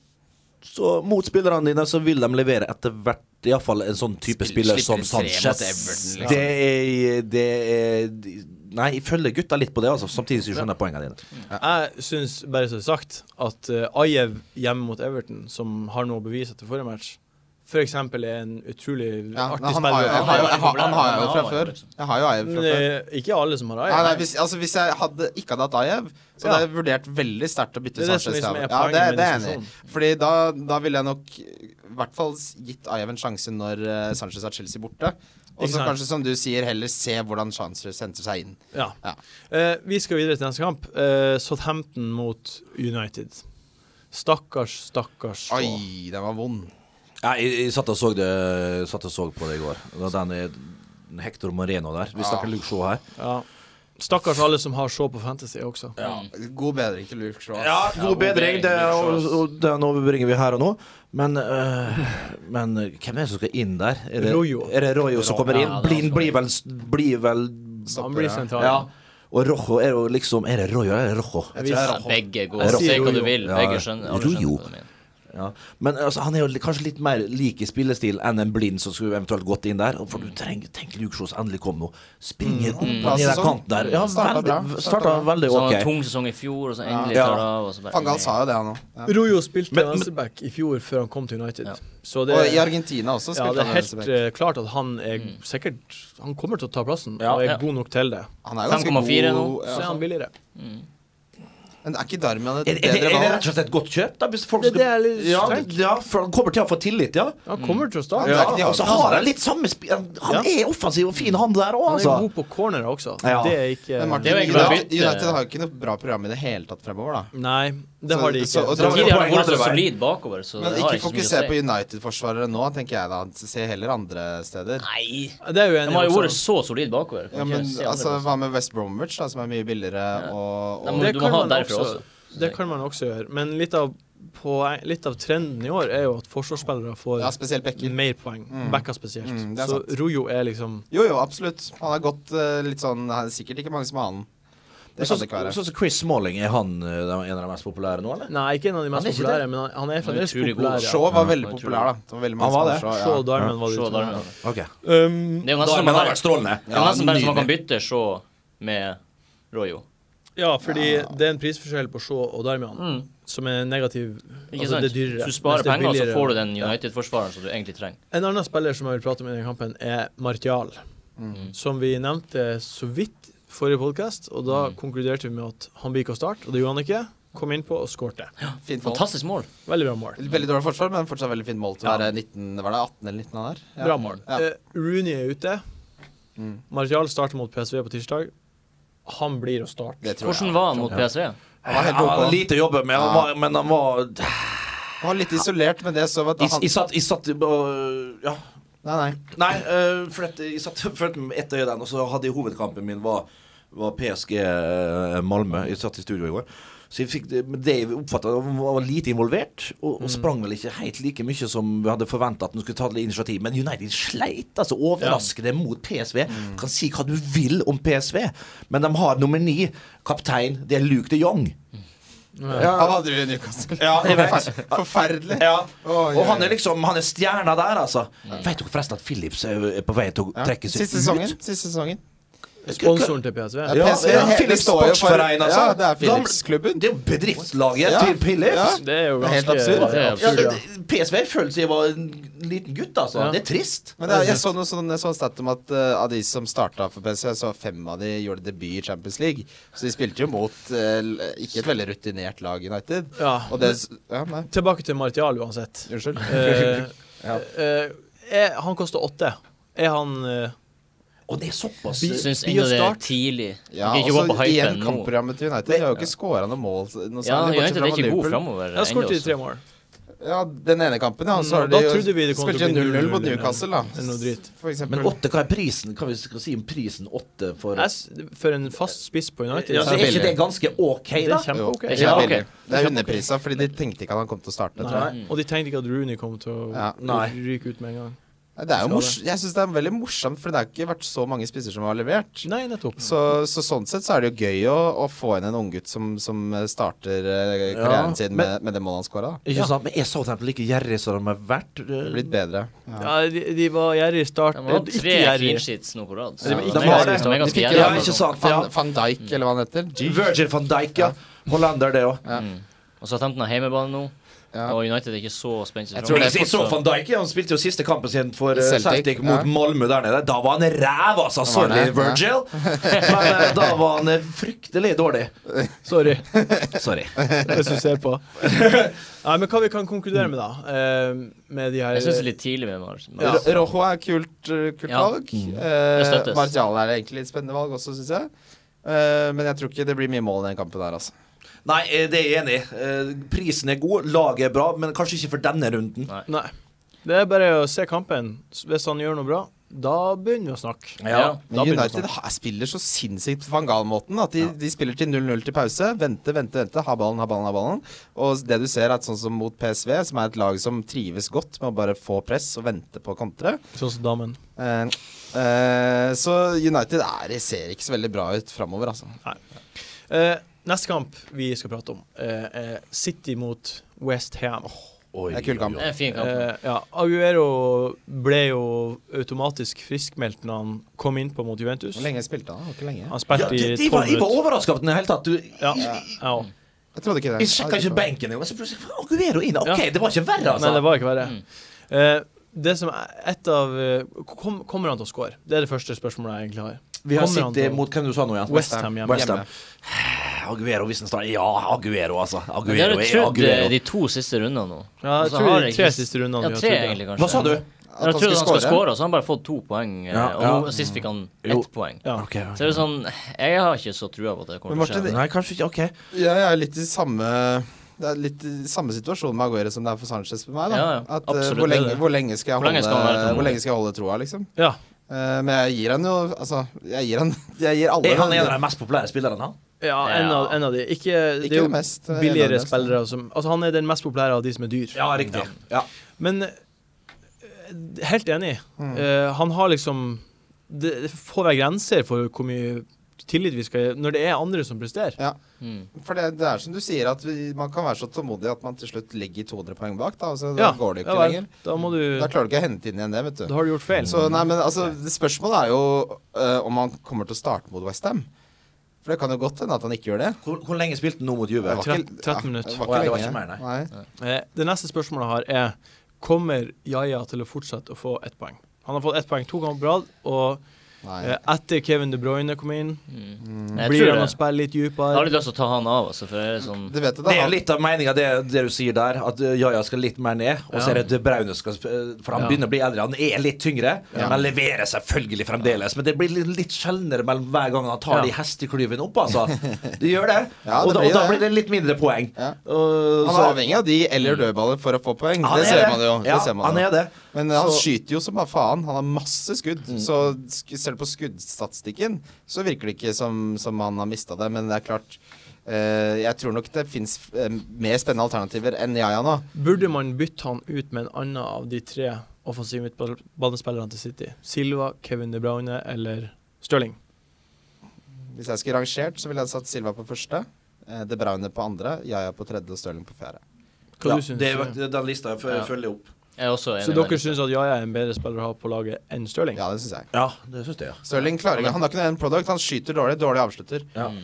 så mot spillerne dine, så vil de levere etter hvert. Iallfall en sånn type
Spill-
spiller som
slipper tre mot
Sanchez.
Everton, liksom.
Det er, det er Nei, jeg følger gutta litt på det, altså, samtidig som jeg skjønner poengene dine.
Jeg syns, bare så det er sagt, at eh, Ajev hjemme mot Everton, som har noe å bevise etter forrige match, for eksempel er en utrolig
Ja, men
artig
han, har jo,
spiller.
jeg har jo, jeg har, han har jeg jo
Han
fra
har jo,
før.
liksom.
Jeg har jo Ajev
Men
fra
det
før.
er ikke alle som har
Nei, nei,
Ajev.
hvis, altså, hvis jeg hadde, ikke hadde hatt Ajev, så
Ja.
hadde jeg vurdert veldig sterkt å bytte
Det er det som
Sanchez.
liksom er
til Ajev. ja,
poenget
det,
med
det er jeg enig i. Fordi da, da ville jeg nok i hvert fall s- gitt Ajev en sjanse når eh, Sanchez har Chelsea borte. Og
Ikke
så
sant.
kanskje, som du sier, heller se hvordan Sanchez henter seg inn.
Ja.
Ja.
Eh, vi skal videre til neste kamp. Eh, Southampton mot United. Stakkars, stakkars. Shaw.
Oi, den var vond.
Ja, jeg, jeg satt og så det Satt og så på det i går. Og Den er den Hector Moreno der. Vi snakker Luke Shaw her.
Ja. Stakkars alle som har Shaw på Fantasy også.
God bedring til Luke Shaw.
Ja,
ass.
god bedring. Det, er- og, og den overbringer vi her og nå. Men, øh, men hvem er det som skal inn der? Er det
Rojo.
Er det Rojo som kommer inn?
Ja, det er
Blind
han
blir vel, blir vel
Han blir sentral.
Ja. Og Rojo er jo liksom Er det Rojo eller er det Rojo?
Jeg tror det er
Begge
Jeg
går. Se
sier
hva
jo,
du vil.
ja.
Begge skjønner. alle
Jo, jo.
skjønner hva du mener.
Ja, Ja. Men altså, han er jo li- kanskje litt mer lik i spillestil enn en blind som skulle eventuelt gått inn der. For du trenger, Tenk Luke Shaws endelig kom nå. Springer opp
Bra
ned den
Mm. sesong.
kanten der. Ja,
Starta bra.
veldig,
Starta
starta veldig
Sånn
ok.
tung sesong i fjor, og så endelig
Ja.
tar det av. Og så bare,
Fangal sa jo det, han òg. Ja.
Rojo spilte
Men- men-
venstreback i fjor før han kom til United.
Ja.
Så det,
Og i
ja,
Argentina også
det
spilte
er
han
helt
venstreback. Mm.
eh, klart at han er sikkert Han kommer til å ta plassen
Ja.
og er
Ja.
god nok til det.
Han er jo ganske
5,4
god.
nå.
Ja,
Så er han
sånn.
billigere.
Men er ikke Darmian
Er,
et
er, er, er
bedre
det
valg?
rett og slett et godt kjøp? Da, hvis folk
Det er det
skal-
jeg litt
ja,
tenker.
ja, for han kommer til å få tillit, ja.
Mm.
Han kommer til å starte.
ja.
ikke de har-
Og så har han litt samme spi... Han, han er offensiv og fin, han der òg,
Han er
altså.
god på cornerer også.
Ja.
Det er ikke
Men
Det
Martin,
er jo egentlig bare
United,
bytte.
United har jo ikke noe bra program i det hele tatt fremover, da.
Nei, det har de
Så-
ikke. Det
så- og da-
var-
Samtidig har de vært så
Poenget er
solid bakover, så
Men
det har
ikke
ikke så
fokuser på
mye å si.
United-forsvarere nå, tenker jeg da. Se heller andre steder.
Det
Nei!
er jo
De
enig
har
i
jo vært
også.
så solid bakover.
altså- Ja,
Kan ikke
men
se andre
altså,
plasser.
hva med West Bromwich, da, som er mye billigere, og,
Ja,
og
men
Det
du må
kan
ha
man
derfra
også.
også.
Det kan man også gjøre. Men litt av, poeng, litt av trenden i år er jo at forsvarsspillere får
Ja, spesielt Becker.
mer poeng.
Mm.
Backa spesielt.
Mm, det er
Så
sant.
Rojo er liksom
Jo, jo, absolutt. Han har gått eh, litt sånn Det er sikkert ikke mange som har han. Det
Sånn
kan det ikke være.
sånn som Chris Smalling, er han eh, en av de mest populære nå, eller?
Nei, ikke en av de mest
Han er ikke
populære, men han- han er fremdeles
utrolig god.
populær. ja.
Shaw var veldig
Ja, jeg
populær,
tror
da. Det var veldig
Han
mange
var
som Shaw,
Shaw og Darman var de
Se
to.
der, men-
Ok.
Um,
Det er jo nesten som man har-
strålende.
det er jo nesten bare så man kan bytte så med Royo.
ja, fordi det er en prisforskjell på Shaw og Darmian
Mm.
som er negativ.
Ikke
Altså,
sant?
det er dyrere.
Du
Mens
sparer
det er
penger, og så
billigere.
får du den United-forsvareren som du egentlig trenger.
En annen spiller som jeg vil prate om i denne kampen, er Martial.
Mm.
Som vi nevnte så vidt forrige podkast, og da
Mm.
konkluderte vi med at han blir ikke å starte, og det gjorde han ikke. Kom innpå og skårte.
ja. Fint mål.
Fantastisk mål.
Veldig bra mål.
Veldig dårlig forsvar, men fortsatt veldig fint mål til å være 19 Var det 18 eller 19 han er? Ja.
Bra mål.
Ja.
Eh, Rooney er ute.
Mm.
Martial starter mot PSV på tirsdag. Han blir å starte.
Det tror jeg.
Hvordan var han mot PSV?
Han var helt
Ja,
ok.
lite å jobbe med, han var, men han var
Han var litt isolert, men det så vi at
Jeg
han
jeg satt, jeg satt øh, Ja.
Nei, nei.
Nei, øh, for at jeg satt følte meg med ett øye den, og så hadde jeg hovedkampen min var, var PSG øh, Malmö. Jeg satt i studio i går. Så jeg fikk det, men det jeg oppfatta, var lite involvert, og, og sprang vel ikke helt like mye som vi hadde forventa at han skulle ta litt initiativ. Men United sleit altså overraskende mot PSV. Du kan si hva du vil om PSV, men de har nummer ni, kaptein, det er Luke de Jong.
Han hadde jo i Newcastle.
Ja, jeg vet.
Forferdelig.
Ja.
Oi,
Og han
oi,
er liksom Han er stjerna der, altså. Vet dere forresten at Philips er er på vei til å
Ja.
trekke seg
Siste sesongen. Siste sesongen.
Sponsoren til PSV.
Ja,
Ja,
PSV,
ja,
hele
Philips
står jo for-
Sportsforening, altså.
Ja, det er
Gamle-
Philips-klubben.
Det er jo bedriftslaget
Ja.
til Philips.
Ja.
Det er jo
Det er helt
ganske
absurd.
Det er
Ja,
absurd,
det,
ja.
det- PSV føler seg var en liten gutt, altså.
Ja.
Det er trist.
Men jeg, jeg så noe sånn, jeg så en stat om at eh, av de som starta for PSV, så fem av de gjorde debut i Champions League. Så de spilte jo mot eh, l- ikke et veldig rutinert lag United.
Ja.
Og det s- Ja, nei.
Tilbake til Martial uansett.
Unnskyld.
Eh, eh, er, han koster åtte. Er han eh,
Og det er såpass
Bi-
Syns
Bio
ennå det er
start.
tidlig.
Ja, altså,
ikke gå på
også igjen
hypen nå.
kampprogrammet til United. De har jo ikke scora noe mål s- noe
Ja,
særlig, bortsett
United er
fra
ikke god
Liverpool.
framover
Jeg skåret i
ennå. altså.
tre mål.
Ja, den ene kampen, ja. og Så
Mm,
har
da
de jo
trodde vi det kom til å
spilte
bli
0-0 mot
0-0 eller
Newcastle, da.
eller noe dritt.
For eksempel.
Men åtte, hva er prisen? Hva vi skal si om prisen åtte for
Jeg s- For en fast spiss på United.
ja,
så
så Er
er
ikke det ganske ok,
det
da?
er kjempe
Jo,
ok.
det er
Ja, ok.
billig. Det er underprisa, fordi de tenkte ikke at han kom til å starte. Tror jeg.
Nei. Og de tenkte ikke at Rooney kom til å
Ja.
Nei.
ryke ut med en gang.
Nei, Det er jo
Skal
mors jeg syns det er veldig morsomt, for det har ikke vært så mange spisser som har levert.
Nei, nettopp.
Så, så sånn sett så er det jo gøy å, å få inn en unggutt som, som starter eh, karrieren
Ja,
sin med, med det målet han skåra.
Ikke sant? Men er Southampton like gjerrig som de har vært? eh,
Blitt bedre. Ja.
Ja, de, de var gjerrig i start.
De har hatt
Ikke
tre
gjerrig.
clean sheets nå på rad.
Ja,
så
de-
de
de
er
har det.
ganske- de er
De
ganske
fikk-
jævlig.
ja, ikke sant.
Van,
Ja.
Van Dijk, eller hva han heter. G.
Virgil van Dijk, ja. Hollander, det òg.
Mm. Og så har Tempton hjemmebane nå.
Ja.
Og United er ikke så spent.
Jeg tror
Jeg
det er
jeg så
fortsatt-
van Dijk, ja, han spilte jo siste kampen sin for eh,
Celtic,
Celtic mot
ja.
Malmö der nede. Da var han ræv, altså!
var
Sorry,
det, ja.
Virgil. Men eh, da var han eh, fryktelig dårlig.
Sorry,
Sorry.
hvis du ser på. Nei, men hva vi kan konkludere med, da? eh, Med de her
Jeg syns det er litt tidlig med Mars.
Ja.
Ro- Rojo er kult, eh, kult
Ja.
valg.
støttes.
Eh, Martial er egentlig et spennende valg også, syns jeg. Eh, men jeg tror ikke det blir mye mål i den kampen der, altså.
Nei, eh, det er jeg enig i. Eh, Prisen er god, laget er bra, men kanskje ikke for denne runden.
Nei. Det er bare å se kampen. Hvis han gjør noe bra, da begynner vi å snakke.
Ja.
Da
Men
begynner
United ha- spiller så sinnssykt på van Gaal-måten at de, de spiller til 0-0 til pause. Vente, vente, vente. Ha ballen, ha ballen, ha ballen. Og det du ser, er at sånn som mot PSV, som er et lag som trives godt med å bare få press og vente på kontre.
Sånn som damen.
Eh, eh, så United er, ser ikke så veldig bra ut framover, altså.
Eh, neste kamp vi skal prate om, eh, er City mot West Ham.
Oi,
Det er kul kamp.
oi,
Det
oi.
er en fin kamp.
Eh, ja, Aguero ble jo automatisk friskmeldt når han kom innpå mot Juventus.
Hvor lenge spilte han? Det var Ikke lenge.
Han
Ja,
spilte
de, de
i
var,
tolv
jeg var
minutter.
overraska over den i det hele tatt. Du,
Ja, ja.
Jeg trodde ikke det.
jeg sjekka ikke benken engang. så plutselig, faen, Aguero inn. OK,
Ja.
det var ikke verre,
Nei, det
altså.
var ikke verre.
Mm.
Eh, det som er et av eh, kom, Kommer han til å score? Det er det første spørsmålet jeg egentlig har.
Vi har
Kommer han
sittet
til-
mot hvem du sa nå igjen?
West Ham hjemme.
West Ham. Aguero, hvis den står Ja, Aguero, altså.
Men det har
Aguero
du
er
trodd eh,
Aguero.
de to siste rundene nå.
Ja, jeg
Altså,
tror
har
de
jeg
tre
ikke-
siste rundene
Ja,
vi har
tre
trodd det.
egentlig, kanskje.
Hva sa du?
Men Jeg trodde han skulle score, og så har han bare fått to poeng. eh,
Ja,
og
ja.
nå sist fikk han ett
Jo.
poeng.
Ja.
Ok, ok.
Så det er sånn Jeg har ikke så trua på at det
Men
kommer til å
Martin,
skje. altså.
Nei, kanskje ikke. OK.
Ja, jeg er litt i samme det er litt i samme situasjon med Aguero som det er for Sanchez for meg. da
Ja, ja.
At, eh,
Absolutt,
hvor,
det er
lenge,
det.
hvor lenge skal jeg
Hvor lenge
holde,
skal han være tålmodig?
hvor lenge skal jeg holde troa, liksom?
Ja.
Eh, men jeg gir han jo Altså, jeg gir han Jeg gir alle
Er han en av de mest populære spillerne, han?
ja, en av, en av de. Ikke, det
Ikke
er jo
det mest, eh, en av de
billigere
mest.
spillere som Altså, han er den mest populære av de som er dyr.
Ja, riktig. Ja.
Men eh, helt enig.
Mm.
Eh, han har liksom Det, det får være grenser for hvor mye tillit vi skal gi når det er andre som presterer.
Ja.
Mm.
For det, det er som du sier, at vi, man kan være så tålmodig at man til slutt ligger 200 poeng bak. Da, altså, da går det jo
ja
ikke
vel.
lenger.
Da må du
Da klarer du ikke å hente inn igjen det, vet du.
Da har du gjort feil.
Så nei, men altså, det spørsmålet er jo eh, om han kommer til å starte mot Westham. For det kan jo godt hende at han ikke gjør det.
Hvor, hvor lenge spilte han nå mot
Det
Juve?
var
Trett-
ikke-
13
ja,
minutter.
Det
Å,
var
ja,
ikke
det var
lenge.
ikke mer,
nei.
Eh, det neste spørsmålet jeg har, er Kommer Jaja til å fortsette å få ett poeng? Han har fått ett poeng to ganger på rad, og
Nei.
eh, etter Kevin De Bruyne kom inn,
Jeg
blir
tror
han å
det.
spille litt
Jeg har
dypere?
litt lyst til å ta han av, altså, for det er sånn
Du vet at
Det er
han-
jo litt av meninga, det, det du sier der, at eh, Jaja skal litt mer ned. Og så er det De Braune skal sp- eh, For han
Ja.
begynner å bli eldre. Han er litt tyngre, men leverer selvfølgelig fremdeles. Men det blir litt, litt sjeldnere mellom hver gang han tar
Ja.
de hesteklyvene opp, altså. Det gjør det.
Ja, det
og, da,
blir
og da
det.
blir det litt mindre poeng.
Ja.
Og
Han
så-
er avhengig av de eller
Mm.
dødballer for å få poeng.
Han
det,
er
ser man jo.
Ja,
det ser man
han
jo.
er det.
Men han
Så-
skyter jo som bare faen. Han har masse skudd.
Mm.
Så sk selv på skuddstatistikken så virker det ikke som, som han har mista det. Men det er klart eh, Jeg tror nok det fins mer spennende alternativer enn Yaya nå.
Burde man bytte han ut med en annen av de tre offensive midtbanespillerne til City? Silva, Kevin De Bruyne eller Stirling?
Hvis jeg skulle rangert, så ville jeg satt Silva på første. eh, De Bruyne på andre, Yaya på tredje og Stirling på fjerde.
Hva
ja,
du syns
det er- det er den lista jeg
Ja.
fø- følger opp.
Jeg er også enig
Så
med
dere
deg.
syns at Jaja er en bedre spiller å ha på laget enn Stirling?
Ja, det syns jeg.
Ja, det syns jeg, ja.
Stirling klarer ikke Han har ikke noe end product. Han skyter dårlig, dårlig avslutter.
Ja.
Mm.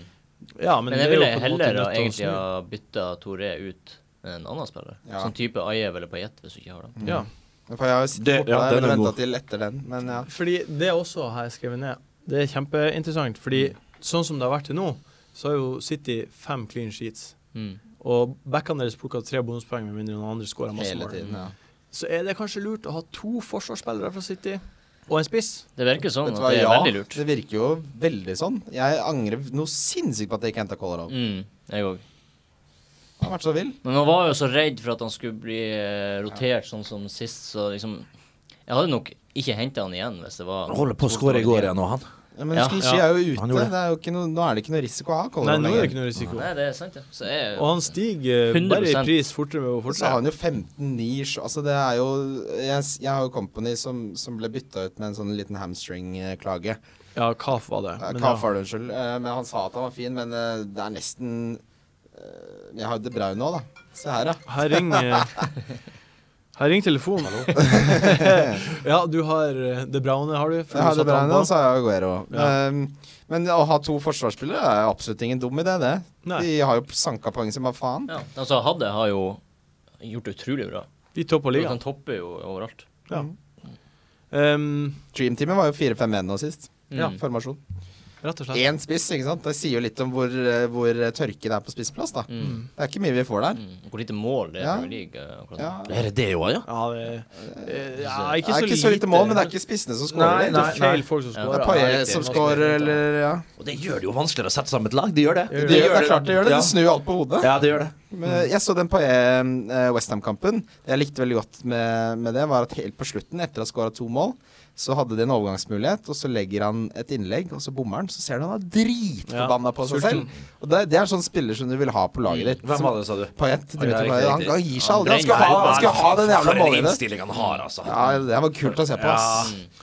Ja,
Men jeg ville heller ha-
nødt til å
egentlig
snu.
ha bytta Toré ut med en annen spiller.
Ja.
Sånn type Ajev eller Payet, hvis du ikke har det.
Ja.
For jeg har jo sittet
Det-
borte
ja,
der,
den er
men
god.
ventet til etter den. Men ja.
Fordi det også har jeg skrevet ned. Det er kjempeinteressant, fordi
Mm.
sånn som det har vært til nå, så har jo City fem clean sheets.
Mm.
Og backene deres plukker tre bonuspoeng med mindre noen andre scorer masse
Hele
mål.
tiden, ja.
Så er det kanskje lurt å ha to forsvarsspillere fra City og en spiss.
Det virker sånn
Vet du
at
hva,
det er
ja,
veldig lurt.
det virker jo veldig sånn. Jeg angrer noe sinnssykt på at jeg ikke henta Kolarov.
Mm, jeg òg.
Han har vært så vill.
Men man var jo så redd for at han skulle bli eh, rotert sånn som sist, så liksom Jeg hadde nok ikke henta han igjen hvis det var
Han holder på å skåre i går igjen nå, han.
Ja, men
Ja,
Sklichi
ja.
er jo
Han
ute.
gjorde det.
Det er jo ikke noe, nå er det ikke noe risiko å ha
Nei,
Kolarov
nå er det
lenger.
ikke noe risiko.
Nei, det er sant, det. Så jeg,
Og han stiger eh, bare i
100%.
pris fortere og
Så har
fortere.
han jo 15-9 sj- Altså, det er jo Jeg, jeg har jo Company som, som ble bytta ut med en sånn liten hamstring-klage.
Ja, Kaf var det.
Eh,
Men ja.
Kaff var det, unnskyld. Eh, Men han sa at han var fin, men eh, det er nesten eh, Jeg har jo De Bruyne nå, da. Se her, ja.
Her ringer Her ringer telefonen. ja, du har eh, Det Braune, har du? for
Jeg
du
har De
satte han
Bruyne, altså. og
på.
så har jeg Aguero.
Ja.
Um, men å ha to forsvarsspillere er absolutt ingen dum idé, det.
Nei.
De har jo sanka poeng som bare faen.
ja, de som hadde, har jo gjort det utrolig bra.
De topper ligaen.
Han topper jo overalt.
Ja. Um,
Dreamteamet var jo 4-5-1 nå sist.
Ja.
Formasjon.
rett og slett.
Én spiss, ikke sant. Det sier jo litt om hvor, eh, hvor tørke det er på spissplass, da.
Mm.
Det er ikke mye vi får der.
Mm. Hvor lite mål det er i
Ja.
Premier League eh, akkurat nå.
Ja.
Er det det òg, ja?
Ja, det, eh, ja,
Det
ikke,
er
så
ikke så lite mål, men det er ikke spissene som skårer.
det
Det
er feil folk som
Det
scorer.
er
Ja,
Paillet
riktig.
som scorer, eller ja.
Og det gjør det jo vanskeligere å sette sammen et lag. Det gjør det.
Det gjør
Det, gjør, det er klart det gjør det.
Ja.
Det snur jo alt på hodet.
Ja, det gjør det.
Men jeg så den på eh, Westham-kampen. Det jeg likte veldig godt med, med det, var at helt på slutten, etter å ha skåra to mål, så hadde de en overgangsmulighet, og så legger han et innlegg, og så bommer han. Så ser du han er dritforbanna på seg
sulten.
selv. Og det, det er sånn spiller som du vil ha på laget ditt.
Hvem var det, sa du?
Payet.
Oi, det er
Dimitri
ikke
Payet. Han,
riktig.
han gir seg aldri. Han
brenner
skal ha, han skal ha den jævla
For en
målgivende.
innstilling han har, altså.
Ja, det var kult å se på, ass.
Mm.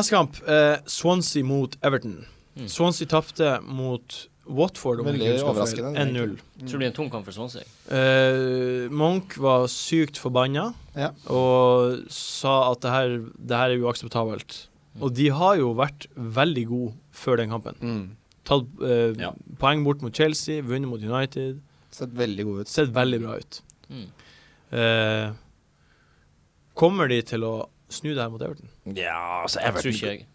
Neste kamp, eh, Swansea mot Everton. Swansea tapte mot Watford, om jeg
Veldig
ikke husker
overraskende,
feil, 1-0.
Tror det blir en tung kamp for Swansea.
Eh, Monk var sykt forbanna
Ja.
og sa at det her, det her er uakseptabelt. Og de har jo vært veldig gode før den kampen.
Mm.
Tatt eh,
Ja.
poeng bort mot Chelsea, vunnet mot United.
Sett veldig god ut.
Sett veldig bra ut.
Mm.
Eh, kommer de til å snu det her mot Everton?
Ja, altså
Tror
Everton,
ikke jeg.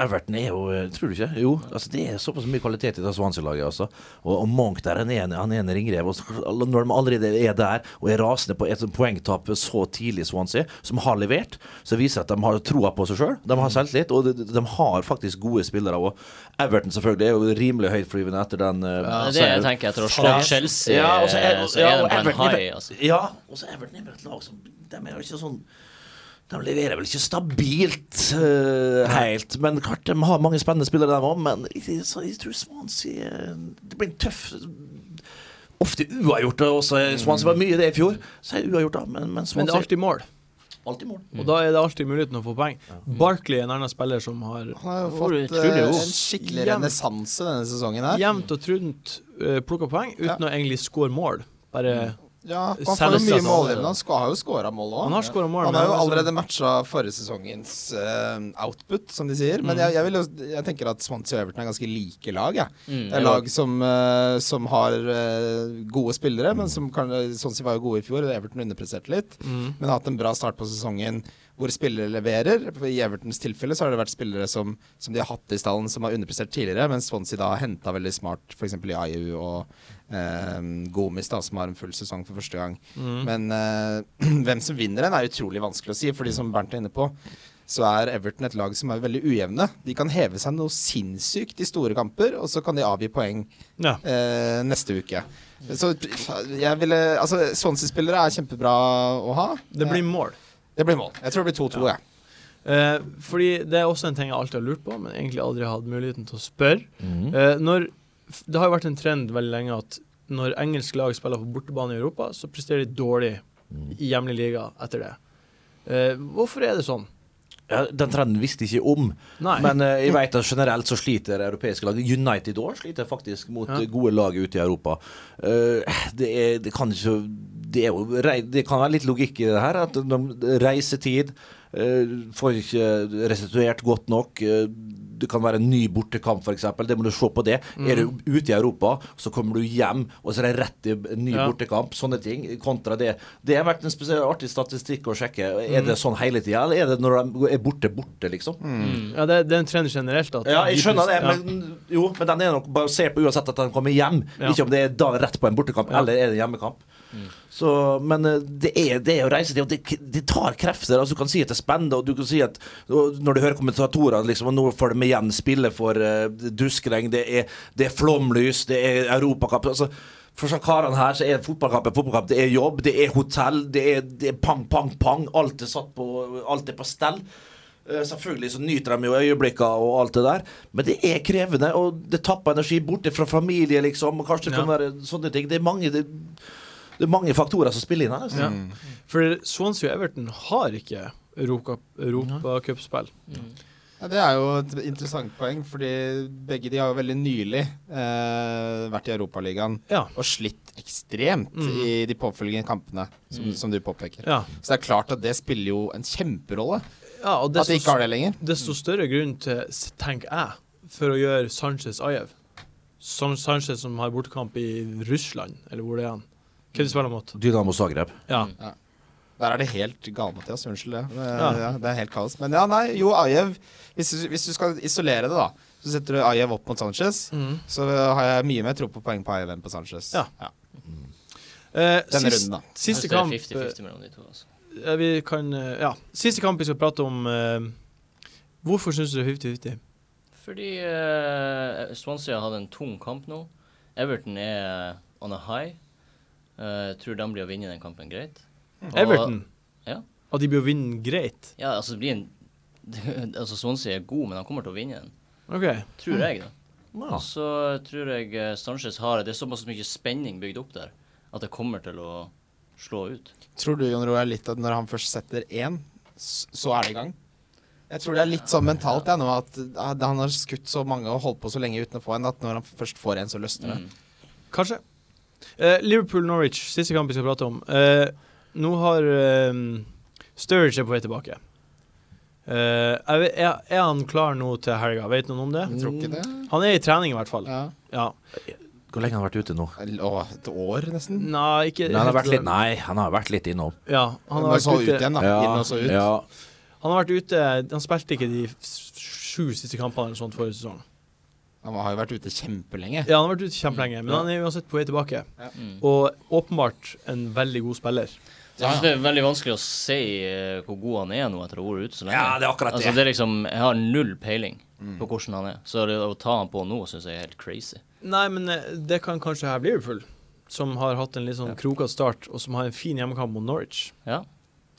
Everton er jo eh, Tror du ikke? Jo, altså det er såpass mye kvalitet i det Swansea-laget. Altså. Og, og Monk der, han er en, han er en ringrev. Og så, når de allerede er der og er rasende på et sånt poengtap så tidlig i Swansea, som har levert, så viser det at de har troa på seg sjøl. De
Mm.
har selvtillit, og de, de har faktisk gode spillere. Og Everton selvfølgelig er jo rimelig høytflyvende etter den eh,
Ja, det er det jeg
seieren.
tenker etter å ha slått Chelsea,
Ja, og så er,
eh,
og,
så
ja,
er
og
de på en
Everton er-
high, altså.
Ja, og så Everton er bare et lag som De er jo ikke sånn De leverer vel ikke stabilt eh, helt. Men klart, de har mange spennende spillere, de òg. Men jeg, så jeg tror Swansea eh, Det blir en tøff Ofte uavgjort også. eh, Swansea var mye i det i fjor. Så er det uavgjort, da. Men, men
Men det
Swansea
er alltid mål,
alltid mål.
og da er det alltid muligheten å få poeng.
Mm.
Barkley er en annen spiller som har
Han har jo
Hvor
fått
utrolig
eh,
god.
en skikkelig
Jevnt.
renessanse denne sesongen her.
jevnt og trunt uh, plukka poeng uten å
Ja.
egentlig score mål. Bare
Ja, han får jo
Selvsagt.
mye målgivende. Han skal, har jo skåra mål òg.
Han har scoret mål,
Han
men
har jo
han er
allerede matcha forrige sesongens eh, output, som de sier. Men jeg, jeg, vil jo, jeg tenker at Swansea og Everton er ganske like lag. jeg. Det er lag som, eh, som har eh, gode spillere, men som kan, Swansea var jo gode i fjor. og Everton underpresterte litt, men har hatt en bra start på sesongen hvor spillere leverer. I Evertons tilfelle så har det vært spillere som, som de har hatt i stallen, som har underprestert tidligere, mens Swansea da henta veldig smart, f.eks. i IU og Eh, Gomis, da, som har en full sesong for første gang.
mm.
Men eh, hvem som vinner den, er utrolig vanskelig å si. Fordi som Bernt er inne på, så er Everton et lag som er veldig ujevne. De kan heve seg noe sinnssykt i store kamper, og så kan de avgi poeng
Ja.
eh, neste uke. Så jeg ville Altså, Swansea-spillere er kjempebra å ha. Eh,
Det blir mål.
Det blir mål. Jeg tror det blir 2-2, jeg.
Eh, fordi det er også en ting jeg alltid har lurt på, men egentlig aldri hatt muligheten til å spørre.
Mm.
Eh, når, f- det har jo vært en trend veldig lenge at når engelske lag spiller på bortebane i Europa, så presterer de dårlig i hjemlig liga etter det. Eh, hvorfor er det sånn?
Ja, den trenden visste jeg ikke om.
Nei.
Men eh, jeg vet at generelt så sliter europeiske lag. United òg sliter faktisk mot
Ja.
eh, gode lag ute i Europa. Eh, det, er, det kan ikke det, er jo, rei- det kan være litt logikk i det her. At de reisetid eh, får ikke restituert godt nok. eh, det kan være en ny bortekamp, f.eks. Det må du se på det.
Mm.
Er du ute i Europa, så kommer du hjem, og så er det rett til en ny
Ja.
bortekamp. Sånne ting. Kontra det. Det har vært en spesiell artig statistikk å sjekke. Er
Mm.
det sånn hele tida, eller er det når de er borte, borte, liksom?
Ja, det, det er en trend generelt. At
Ja,
de
jeg skjønner det,
prester- ja.
men, jo, men den er nok basert på uansett at den kommer hjem.
Ja.
Ikke om det er da rett på en bortekamp, eller er det hjemmekamp. Så, men eh, det er, det er jo reisetid, og det, det tar krefter. altså Du kan si at det er spennende, og du kan si at og når du hører kommentatorene liksom, og nå får de igjen spille for eh, duskreng, det er, det er flomlys, det er europakamp altså, For sånne karene her så er fotballkamp en fotballkamp. Det er jobb, det er hotell, det er, det er pang, pang, pang. Alt er satt på, alt er på stell. Eh, Selvfølgelig så nyter de jo øyeblikkene og alt det der, men det er krevende. Og det tapper energi borte fra familie, liksom. Og kanskje det kan
Ja.
være sånne ting. Det er mange, det, det er mange faktorer som spiller inn her. Altså.
Ja. For Swansea og Everton har ikke europacupspill. Europa Cup-spill.
Ja, det er jo et interessant poeng, fordi begge de har jo veldig nylig eh, vært i Europaligaen
Ja. Mm.
og slitt ekstremt i de påfølgende kampene, som, som du påpeker.
Ja.
Så det er klart at det spiller jo en kjemperolle,
ja, og
at de ikke har det lenger.
Desto større grunn til, s- tenker jeg, for å gjøre Sanchez Ajev. Som Sanchez som har bortekamp i Russland, eller hvor det er han. Hvem de spiller mot?
Dynamo Zagreb.
Ja.
Der er det helt gale, Mathias. Unnskyld det. Det,
Ja.
ja. det er helt kaos. Men ja, nei, jo, Ajev hvis, du- hvis du skal isolere det, da, så setter du Ajev opp mot Sanchez.
Mm.
Så har jeg mye mer tro på poeng på Ajev enn på Sanchez.
Ja. Eh,
Denne
sist-
runden, da.
Jeg synes
Siste
det er
kamp,
50-50 mellom de to. Altså.
eh, vi kan, eh, ja. siste kamp vi skal prate om eh, Hvorfor syns du det er 50-50?
Fordi eh, Swansea har hatt en tung kamp nå. Everton er on a high. Eh, jeg tror de blir å vinne den kampen greit. Og-
Mm. Everton?
Mm. Ja.
At de blir å vinne greit?
Ja, altså det blir en Altså Swansea er god, men han kommer til å vinne den.
OK.
Tror jeg, da.
Ah.
Og så tror jeg eh, Sanchez har det. Det er såpass mye spenning bygd opp der at det kommer til å slå ut.
Tror du, Jon Roar, litt at når han først setter én, s- så er det i gang? Jeg tror det er litt sånn mentalt jeg, nå, at eh, han har skutt så mange og holdt på så lenge uten å få en, at når han først får en, så løsner det.
Mm.
Kanskje. Eh, Liverpool-Norwich, siste kamp vi skal prate om. Eh, nå har eh, Sturridge er på vei tilbake. Eh, jeg vet- er, er han klar nå til helga? Vet noen om det?
Jeg tror ikke det.
Mm.
Han er i trening, i hvert fall.
Ja.
Ja.
Hvor lenge har han vært ute nå?
Å, et år, nesten.
Nei, ikke
Nei, han har vært litt, nei, han har vært litt innom.
Ja, han har
Men så
vært
ut
ute.
igjen, da. Inn og så ut.
ja.
Han har vært ute Han spilte ikke de s- sju siste kampene eller sånt forrige sesong.
Han har jo vært ute kjempelenge.
Ja, han har vært ute kjempelenge, men han er uansett på vei tilbake.
Mm.
Og åpenbart en veldig god spiller.
Jeg synes det er veldig vanskelig å si eh, hvor god han er nå etter å ha vært ute så lenge.
Ja, det er akkurat det. Mm.
Altså, det er liksom, jeg har null peiling på hvordan han er, så det, å ta han på nå synes jeg er helt crazy.
Nei, men eh, det kan kanskje her bli Liverpool, som har hatt en litt sånn krokete start, og som har en fin hjemmekamp mot Norwich.
Ja,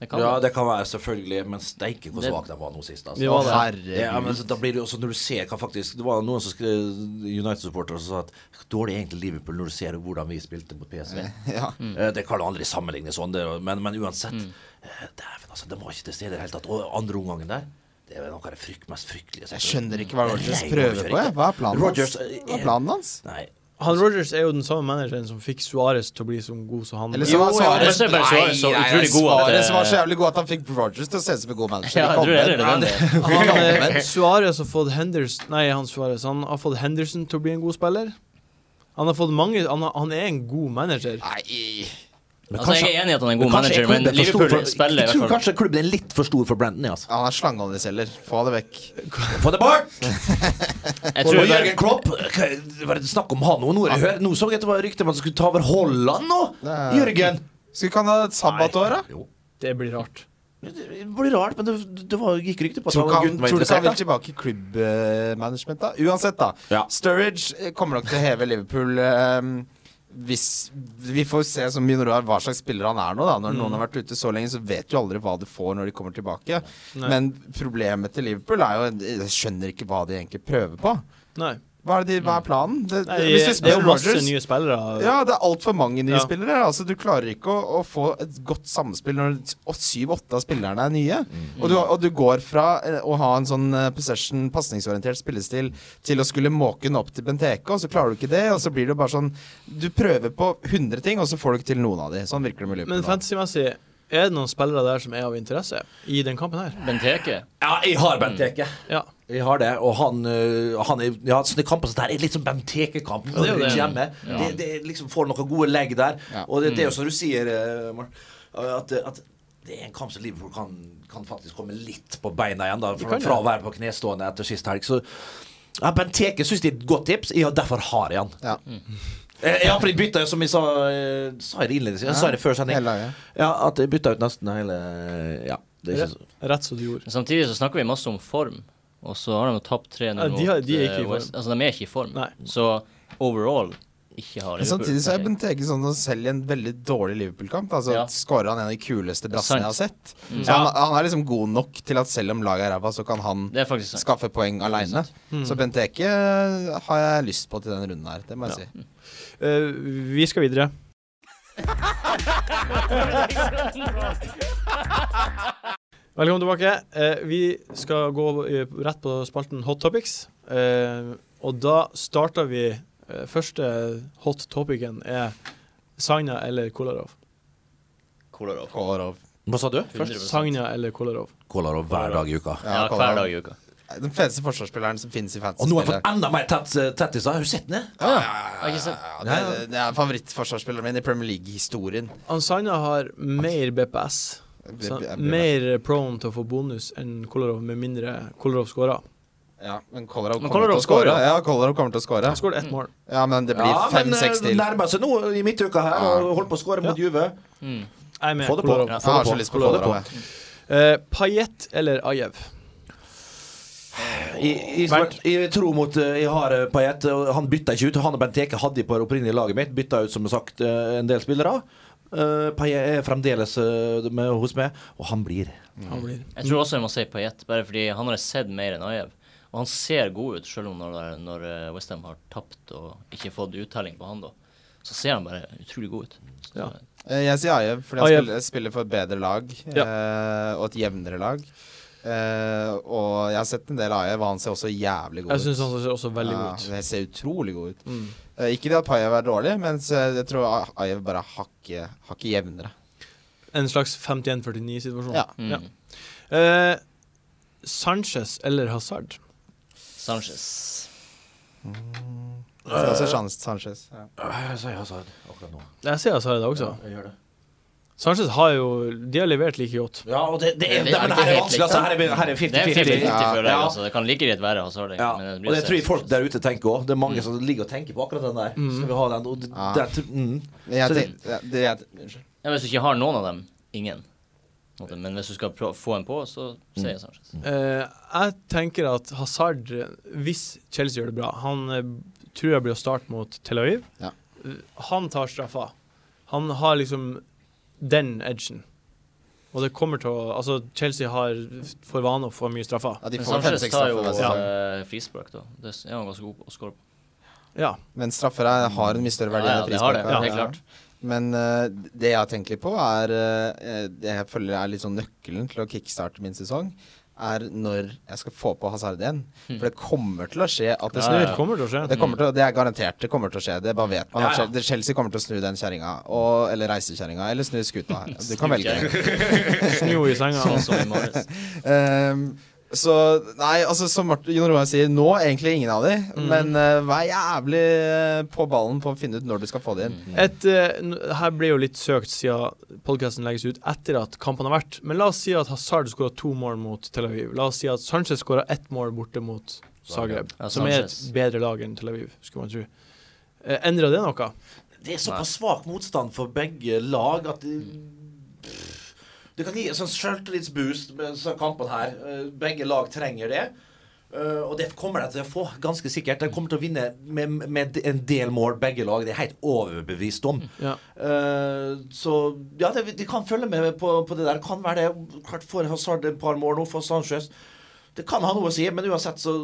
det kan
ja, det
det.
kan være, selvfølgelig. Men steike hvor
Det-
svak de var nå sist. Altså.
Vi var det.
Ja, men så da blir det jo også når du ser hva faktisk Det var noen som skrev United-supportere som sa at dårlig er egentlig Liverpool når du ser hvordan vi spilte mot PSV.
Ja.
Mm.
Eh, Det kan du aldri sammenligne sånn, det, men, men uansett. eh, Dæven, altså. De var ikke til stede i det hele tatt. Og andre omgangen der, det er noe av det frykt, mest fryktelige
Jeg skjønner ikke hva Rogers prøver på.
jeg.
Jeg. Hva er planen
Rodgers,
hans?
eh,
Hva er planen hans?
Nei.
Han Rogers er jo den samme manageren som fikk Suárez til å bli så god som han
Eller
er.
så
Jo,
var
jo,
Suarez
men så er bare Suarez så utrolig god at,
Suarez
eh,
var så jævlig god at han fikk Rogers til å se ut som en god manager.
Ja, jeg tror det er relevant.
Han, eh, Suárez har fått Henderson Nei, han Suárez Han har fått Henderson til å bli en god spiller. Han har fått mange Han, har, han er en god manager.
Nei
Men
Altså, jeg er enig i at han er en god manager, men
klubben for stor
Liverpool
for-
spiller i
Jeg tror
hvert fall.
kanskje klubben er litt for stor for Brenton, ja, altså.
Han er slangeoljeselger. Få det vekk.
Få det bort!
Jeg
Og
tror
Jørgen
bare,
Klopp hva- hva er det Snakk om han nå. Nå, er det hø- nå så jeg at det var rykte om at han skulle ta over Holland nå!
Nei.
Jørgen!
Skulle ikke han ha et sabbatår, da?
Jo.
Det blir rart.
Det det blir rart, men det, det var, gikk rykte på at
Tror du ikke
gutten
han-
var
tror du ikke han vil
interessert. da.
tilbake i club eh, management, da? Uansett, da.
Ja.
Sturridge eh, kommer nok til å heve Liverpool eh, hvis Vi får se så mye når du har hva slags spiller han er nå, da. Når noen har vært ute så lenge, så vet du aldri hva du får når de kommer tilbake.
Nei.
Men problemet til Liverpool er jo Jeg skjønner ikke hva de egentlig prøver på.
Nei.
Hva er, det de, hva er planen? Det,
Nei
hvis du
det er
spør
jo masse
Rodgers
nye spillere.
Ja, det er altfor mange nye
Ja.
spillere. Altså, du klarer ikke å, å få et godt samspill når syv-åtte av spillerne er nye. Og, du, og du går fra eh, å ha en sånn eh, possession, pasningsorientert spillestil til å skulle måke den opp til Benteke, og så klarer du ikke det, og så blir det bare sånn Du prøver på 100 ting, og så får du ikke til noen av de. Sånn virker det med
Men
Liverpool. nå.
fantasymessig, er det noen spillere der som er av interesse i den kampen her?
Benteke,
Ja, jeg har Benteke.
Ja.
Vi har det, og han, øh, han er, ja, sånne kamper som det her er litt sånn som Benteke-kamp.
det er jo
Norge
det.
hjemme. Det, det er liksom får noen gode legg der.
Ja.
Og
Mm.
det, det er jo som du sier, øh, Mark, at, at det er en kamp som Liverpool kan, kan faktisk komme litt på beina igjen, da, fra,
kan det.
fra å være på knestående etter sist helg. Så ja, Benteke syns det er et godt tips, ja, derfor har jeg han.
Ja.
Eh, Ja, for de bytta jo, som jeg sa, eh, sa jeg det innledningsvis, jeg sa det før sending,
Hele laget.
ja, at de bytta ut nesten hele Ja. Det er ikke så
Rett som du gjorde.
men samtidig så snakker vi masse om form, og så har de jo tapt 3-0
Ja,
mot
de har- de er
eh,
ikke i form.
West. Altså, de er ikke i form.
Nei.
Så overall ikke har
Men
Liverpool.
samtidig så er Benteke sånn som selv i en veldig dårlig Liverpool-kamp altså
Ja.
skårer han en av de kuleste
Sant.
brassene jeg har sett. Så han, han er liksom god nok til at selv om laget er ræva, så kan han
Det er faktisk sånn. sant.
skaffe poeng aleine. Så Benteke eh, har jeg lyst på til denne runden her, det må jeg si.
Eh, vi skal videre. Velkommen tilbake. Eh, vi skal gå eh, rett på spalten Hot topics. Eh, og da starter vi eh, Første hot topicen er Sagna eller Kolarov.
Kolarov.
Kolarov.
Hva sa du?
100%.
Sagna eller Kolarov.
Kolarov hver dag i uka.
Ja, hver
Kolarov.
dag i uka.
Den feteste forsvarsspilleren som finnes i
Og nå har jeg
fantasy-spillet.
fått enda mer tett, eh, tettiser. Har du sett den?
Ja, ja,
Har ikke sett-
ja, det, det er favorittforsvarsspilleren min i Premier League-historien.
Han Sagna har mer BPS. Så
Jeg blir-
mer prone til å få bonus enn Kolarov, med mindre Kolarov skårer.
Ja, men Kolarov kommer
Men
til å
Kolarov
score.
scorer,
Ja, Kolarov kommer til å score.
Han skåret ett mål.
Ja, men det blir fem-seks
det
til.
eh, nærmer seg nå i midtuka her og holdt på å skåre mot Juve.
Jeg er med.
Få det på.
Kolarov.
Ja,
Jeg har så lyst på
Kolarov.
Kolarov. jeg.
Eh, Payet eller Ajev?
I, i,
Bernt.
jeg tror mot eh, Jeg har eh, Payet. og Han bytta ikke ut. Han og Benteke hadde de på det opprinnelige laget mitt. Bytta ut, som sagt, eh, en del spillere. Uh, Payet er fremdeles eh, med, hos meg, og han blir.
Mm.
Han blir
Jeg tror også jeg må si Payet, bare fordi han har jeg sett mer enn Ajev. Og han ser god ut, selv om når, når Westham har tapt og ikke fått uttelling på han, da. Så ser han bare utrolig god ut. Så,
Ja.
Eh, Jeg sier Ajev, fordi han
Ajev.
spiller, spiller for et bedre lag eh, og et jevnere lag. Eh, og jeg har sett en del av Ayev, og han ser også jævlig god
Jeg syns
ut.
han ser også veldig god ut.
Ja, det ser utrolig god ut.
Mm.
Eh, ikke det at Payev er dårlig, men så jeg tror Ayev bare er hakket hakket jevnere.
En slags 51-49-situasjon.
Ja.
Mm.
Ja. Eh, Sanchez eller Hazard?
Sanchez.
Så også San- Sanchez. Ja.
Jeg sier Hazard akkurat nå.
Jeg ser Hazard også.
Jeg gjør det.
Sanchez har jo De har levert like godt.
Ja, og det, det er,
Det er
det, men
ikke
her er
helt
vanskelig. Altså, her er- her er
Det er
50-50.
50-50,
Ja.
føler jeg.
Ja.
Altså. Det kan like greit være Hazard.
Ja.
men blir
Og det
å
tror
se
jeg folk
Sanchez.
der ute tenker òg. Det er mange som ligger og tenker på akkurat den der. Skal vi ha den? Og det,
Ja.
det, er- mm.
Men Jeg,
Så det-
tenk- ja, det, jeg, unnskyld.
Ja, hvis du ikke har noen av dem, ingen. På en måte. Men hvis du skal prøve å få en på, så sier jeg Sanchez.
Eh, jeg tenker at Hazard, hvis Chelsea gjør det bra Han eh, tror jeg blir å starte mot Tel Aviv.
Ja.
Eh, Han tar straffa. Han har liksom den edgen. Og det kommer til å Altså, Chelsea har for vane å få mye straffer.
ja, de
Men
får fem,
Sanchez
seks
tar jo
straffer altså. hver
Ja.
sesong.
altså.
eh, frispark, da. Det er han ganske god på å score på.
Ja.
Men straffer er, har en mye større verdi
Ja, ja,
enn
det har det.
frispark.
Helt klart.
Men eh, det jeg har tenkt litt på, er eh, Det jeg føler er litt sånn nøkkelen til å kickstarte min sesong, er når jeg skal få på Hazard igjen. For det kommer til å skje at det
Hmm. Ja,
snur.
ja,
Det kommer til å skje.
Det, kommer til, å- det er garantert. Det kommer til å skje. Det bare vet man.
Ja, ja.
Chel- Chelsea kommer til å snu den kjerringa. og- Eller reisekjerringa. Eller snu skuta. Du kan velge.
Snu i senga.
Sånn som i morges.
Ehm, så Nei, altså som Martin, Jon Roar sier, nå egentlig ingen av de.
Mm.
Men eh, vær jævlig eh, på ballen på å finne ut når du skal få de inn.
Mm.
Et, eh, n- her blir jo litt søkt siden podkasten legges ut etter at kampene har vært. Men la oss si at Hazard skåra to mål mot Tel Aviv. La oss si at Sanchez skåra ett mål borte mot Zagreb,
Ja,
som er et
Sanchez.
bedre lag enn Tel Aviv, skulle man tro. Eh, Endra det noe?
det er såpass svak motstand for begge lag at det, det kan gi en sånn selvtillitsboost med sånn kampen her. Eh, Begge lag trenger det. Eh, og det kommer de til å få, ganske sikkert. De kommer til å vinne med, med en del mål, begge lag. Det er jeg helt overbevist om.
Ja.
Eh, så ja, det, de kan følge med på, på det der. Kan være det. Klart får Hazard et par mål nå, får Sanchez Det kan ha noe å si, men uansett så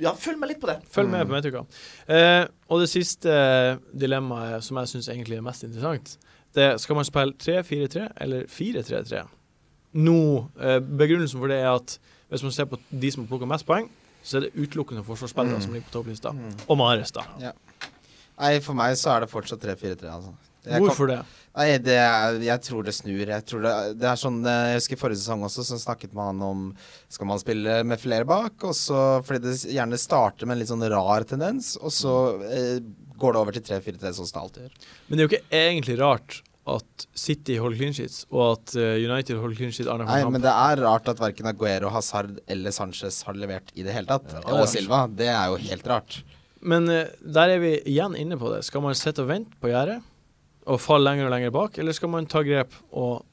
Ja, følg med litt på det.
Følg
Mm.
med på Metuka. Eh, og det siste eh, dilemmaet, som jeg syns egentlig er mest interessant, det er skal man spille 3-4-3 eller 4-3-3. Nå, eh, Begrunnelsen for det er at hvis man ser på de som har plukka mest poeng, så er det utelukkende forsvarsspillere
Mm.
som ligger på topplista. Og Mares, da.
Nei, for meg så er det fortsatt 3-4-3, altså. Jeg kan-
Hvorfor det?
Nei, det er, jeg tror det snur. Jeg, tror det, det er sånn, eh, jeg husker forrige sesong også, så snakket man om Skal man spille med flere bak? Og så, fordi det s- gjerne starter med en litt sånn rar tendens, og så eh, går det over til 3-4-3, sånn som det alltid gjør.
Men det er jo ikke egentlig rart at City holder clean sheets, og at eh, United holder clean sheet annenhver
Nei,
kamp.
men det er rart at verken Aguero, Hazard eller Sanchez har levert i det hele tatt. og Silva. Det er jo helt rart.
Men eh, der er vi igjen inne på det. Skal man sitte og vente på gjerdet og falle lenger og lenger bak, eller skal man ta grep og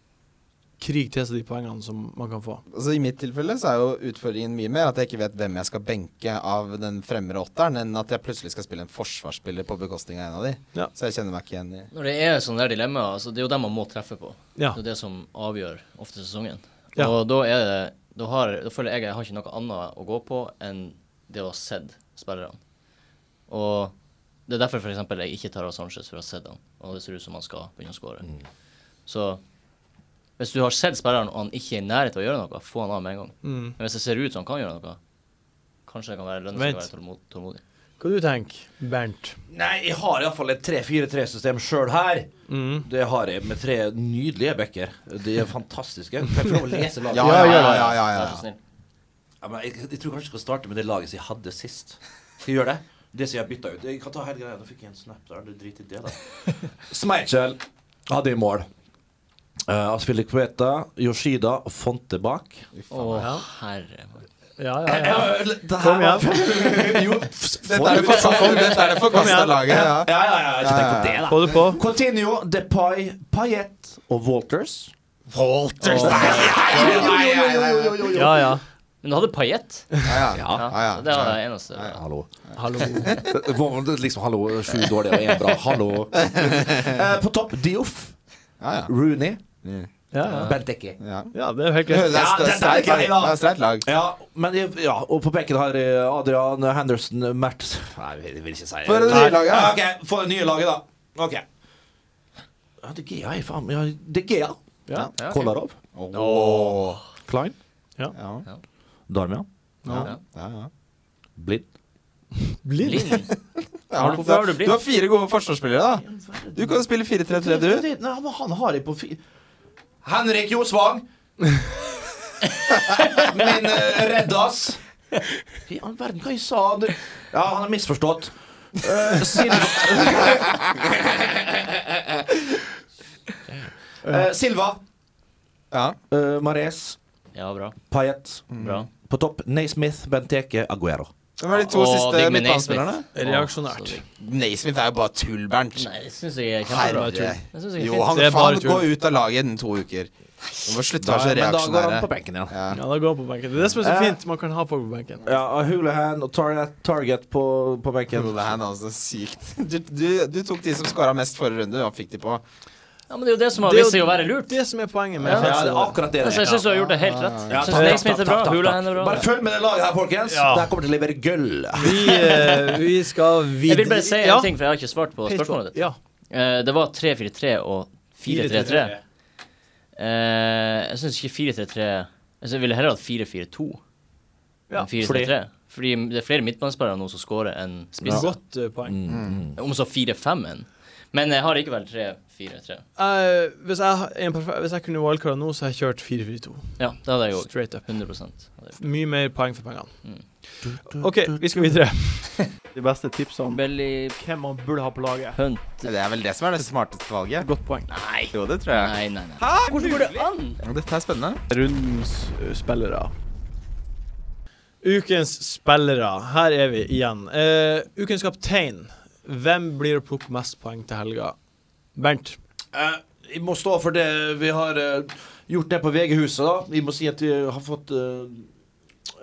krige til seg de poengene som man kan få?
Altså, I mitt tilfelle så er jo utfordringen mye mer at jeg ikke vet hvem jeg skal benke av den fremre åtteren, enn at jeg plutselig skal spille en forsvarsspiller på bekostning av en av de.
Ja.
Så jeg kjenner meg ikke igjen i
Når det er sånne der dilemmaer, altså, det er jo dem man må treffe på.
Ja.
Det er det som avgjør ofte sesongen.
Ja.
Og da er det da, har, da føler jeg jeg har ikke noe annet å gå på enn det å ha sett spillerne. Og det er derfor for eksempel jeg ikke tar av Sanchez for å ha sett han, og det ser ut som han skal begynne å skåre.
Mm.
Så hvis du har sett spilleren og han ikke er i nærheten av å gjøre noe, få han av med en gang.
Mm.
Men hvis det ser ut som han kan gjøre noe, kanskje det kan være lønne seg å
Vent.
være tålmod- tålmodig.
Hva du tenker Bernt?
Nei, jeg har iallfall et 3-4-3-system sjøl her. Det har jeg med tre nydelige backer. De er fantastiske. Kan jeg få lov å lese laget?
Ja, ja, ja. ja, ja, ja,
Vær så
ja.
snill.
Ja, men jeg, jeg tror kanskje jeg skal starte med det laget som jeg hadde sist. Skal jeg gjøre det? Det som jeg har bytta ut. Jeg kan ta hele greia. Nå fikk jeg en snap der. Du driter i det, da. Smeichel hadde i mål. Uh, Asfilip Yoshida og Fonte bak.
Å, herre mann.
Ja, ja, ja.
Ja, eller, det her
Kom igjen.
var- jo,
Dette er det forkasta- dette er det forkasta laget. Ja.
Ja, ja, ja. Ikke tenk på det, da.
Få det på.
Continuo, Depay, Payet og Walters.
Walters
Ja, ja.
Men du hadde paillett?
Ja, ja. Ja, ja.
Det var det eneste.
Hallo.
Hallo.
Liksom hallo, sju dårlige og én bra. Hallo. Eh, på topp Dioff,
Ja, ja.
Rooney,
Ja, ja.
Bent Dekke.
Ja.
ja det er jo helt
Det
greit.
er st-
dette er
streit lag.
gøy, da.
Det er streit lag.
Ja, men jeg, ja, og på benken har jeg Adrian Henderson Mert Nei, jeg vil ikke si
For det
Nei.
nye laget.
Ja, ok, for det nye laget, da. Ok. Ja, De Gea er faen meg ja, De Gea.
Ja.
Ja, ok.
Kolarov.
Åh.
Klein.
Ja.
Darmia.
Ja.
Ja.
Ja, ja.
Blind.
Blind?
Lind.
Har du,
Hvorfor har du blitt?
du har fire gode forsvarsspillere, da. Du kan jo spille 4-3-3, du.
Nei, men han har jeg på fi...
Henrik Josvang! Min uh, reddas.
Hva i all verden, hva jeg sa du?
Ja, han er misforstått. Eh, Silva Eh, Silva.
Ja.
Uh, Mares.
Ja, bra.
Payet.
Mm.
Bra.
På topp Naismith, Benteke, Aguero.
Hvem er de to
Og
siste
Digby
midtbanespillerne?
Naismith.
Reaksjonært.
Å, så digg.
Naismith er jo bare tull, Bernt.
Nei, det syns jeg er
Herre.
kjempebra. Det synes jeg er
Jo,
fint.
han
Det er
faen
bare tull.
gå ut av laget innen to uker. Du må slutte å være så
men da går han
reaksjonære.
på benken igjen.
Ja.
Ja, da går han på benken. Det er det som er så
Ja.
fint. Man kan ha folk på benken.
Ja, og Hulahan og Target, target på, på benken.
Det her er altså sykt. Du, du, du tok de som skåra mest forrige runde, og fikk de på.
Ja, men det er jo det som har
Det er
vist seg
jo-
å være lurt.
Det som er poenget med
Ja, det
Fetzer,
er akkurat det. det
Altså,
er.
jeg syns du har gjort det helt rett. Jeg synes Naismith er bra, Hulahan er bra.
Bare følg med det laget her, folkens.
Ja.
Det her kommer til å levere gull.
Vi, eh, vi skal videre
Jeg vil bare si
Ja,
en ting, for jeg har ikke svart på
helt
spørsmålet ditt.
Ja.
Eh, Det var 3-4-3 og 4-3-3. Eh, Jeg syns ikke 4-3-3 altså, Jeg ville heller hatt 4-4-2
Ja,
enn 4-3-3. Fordi det er flere midtbanespillere nå som scorer enn spisser.
Godt eh, poeng.
Om så 4-5-en. Men jeg har likevel 3-4-3.
Eh, hvis, jeg, ha- en perfekt, hvis jeg kunne wildcarda nå, så hadde jeg kjørt 4-4-2.
Ja, det hadde jeg òg.
Straight up.
100 hadde jeg gjort.
Mye mer poeng for pengene. OK, vi skal videre.
De beste tipsene om
Belly
hvem man burde ha på laget.
Hunt
Det er vel det som er det smarteste valget.
Godt poeng.
Nei.
Jo, det tror jeg.
Nei, nei, nei. Hvordan går det an?
Dette er spennende.
Rundens eh, spillere.
Ukens spillere. Her er vi igjen. Eh, ukens kaptein. Hvem blir å plukke mest poeng til helga? Bernt.
Eh, Vi må stå for det vi har eh, gjort det på VG-huset, da. Vi må si at vi har fått eh,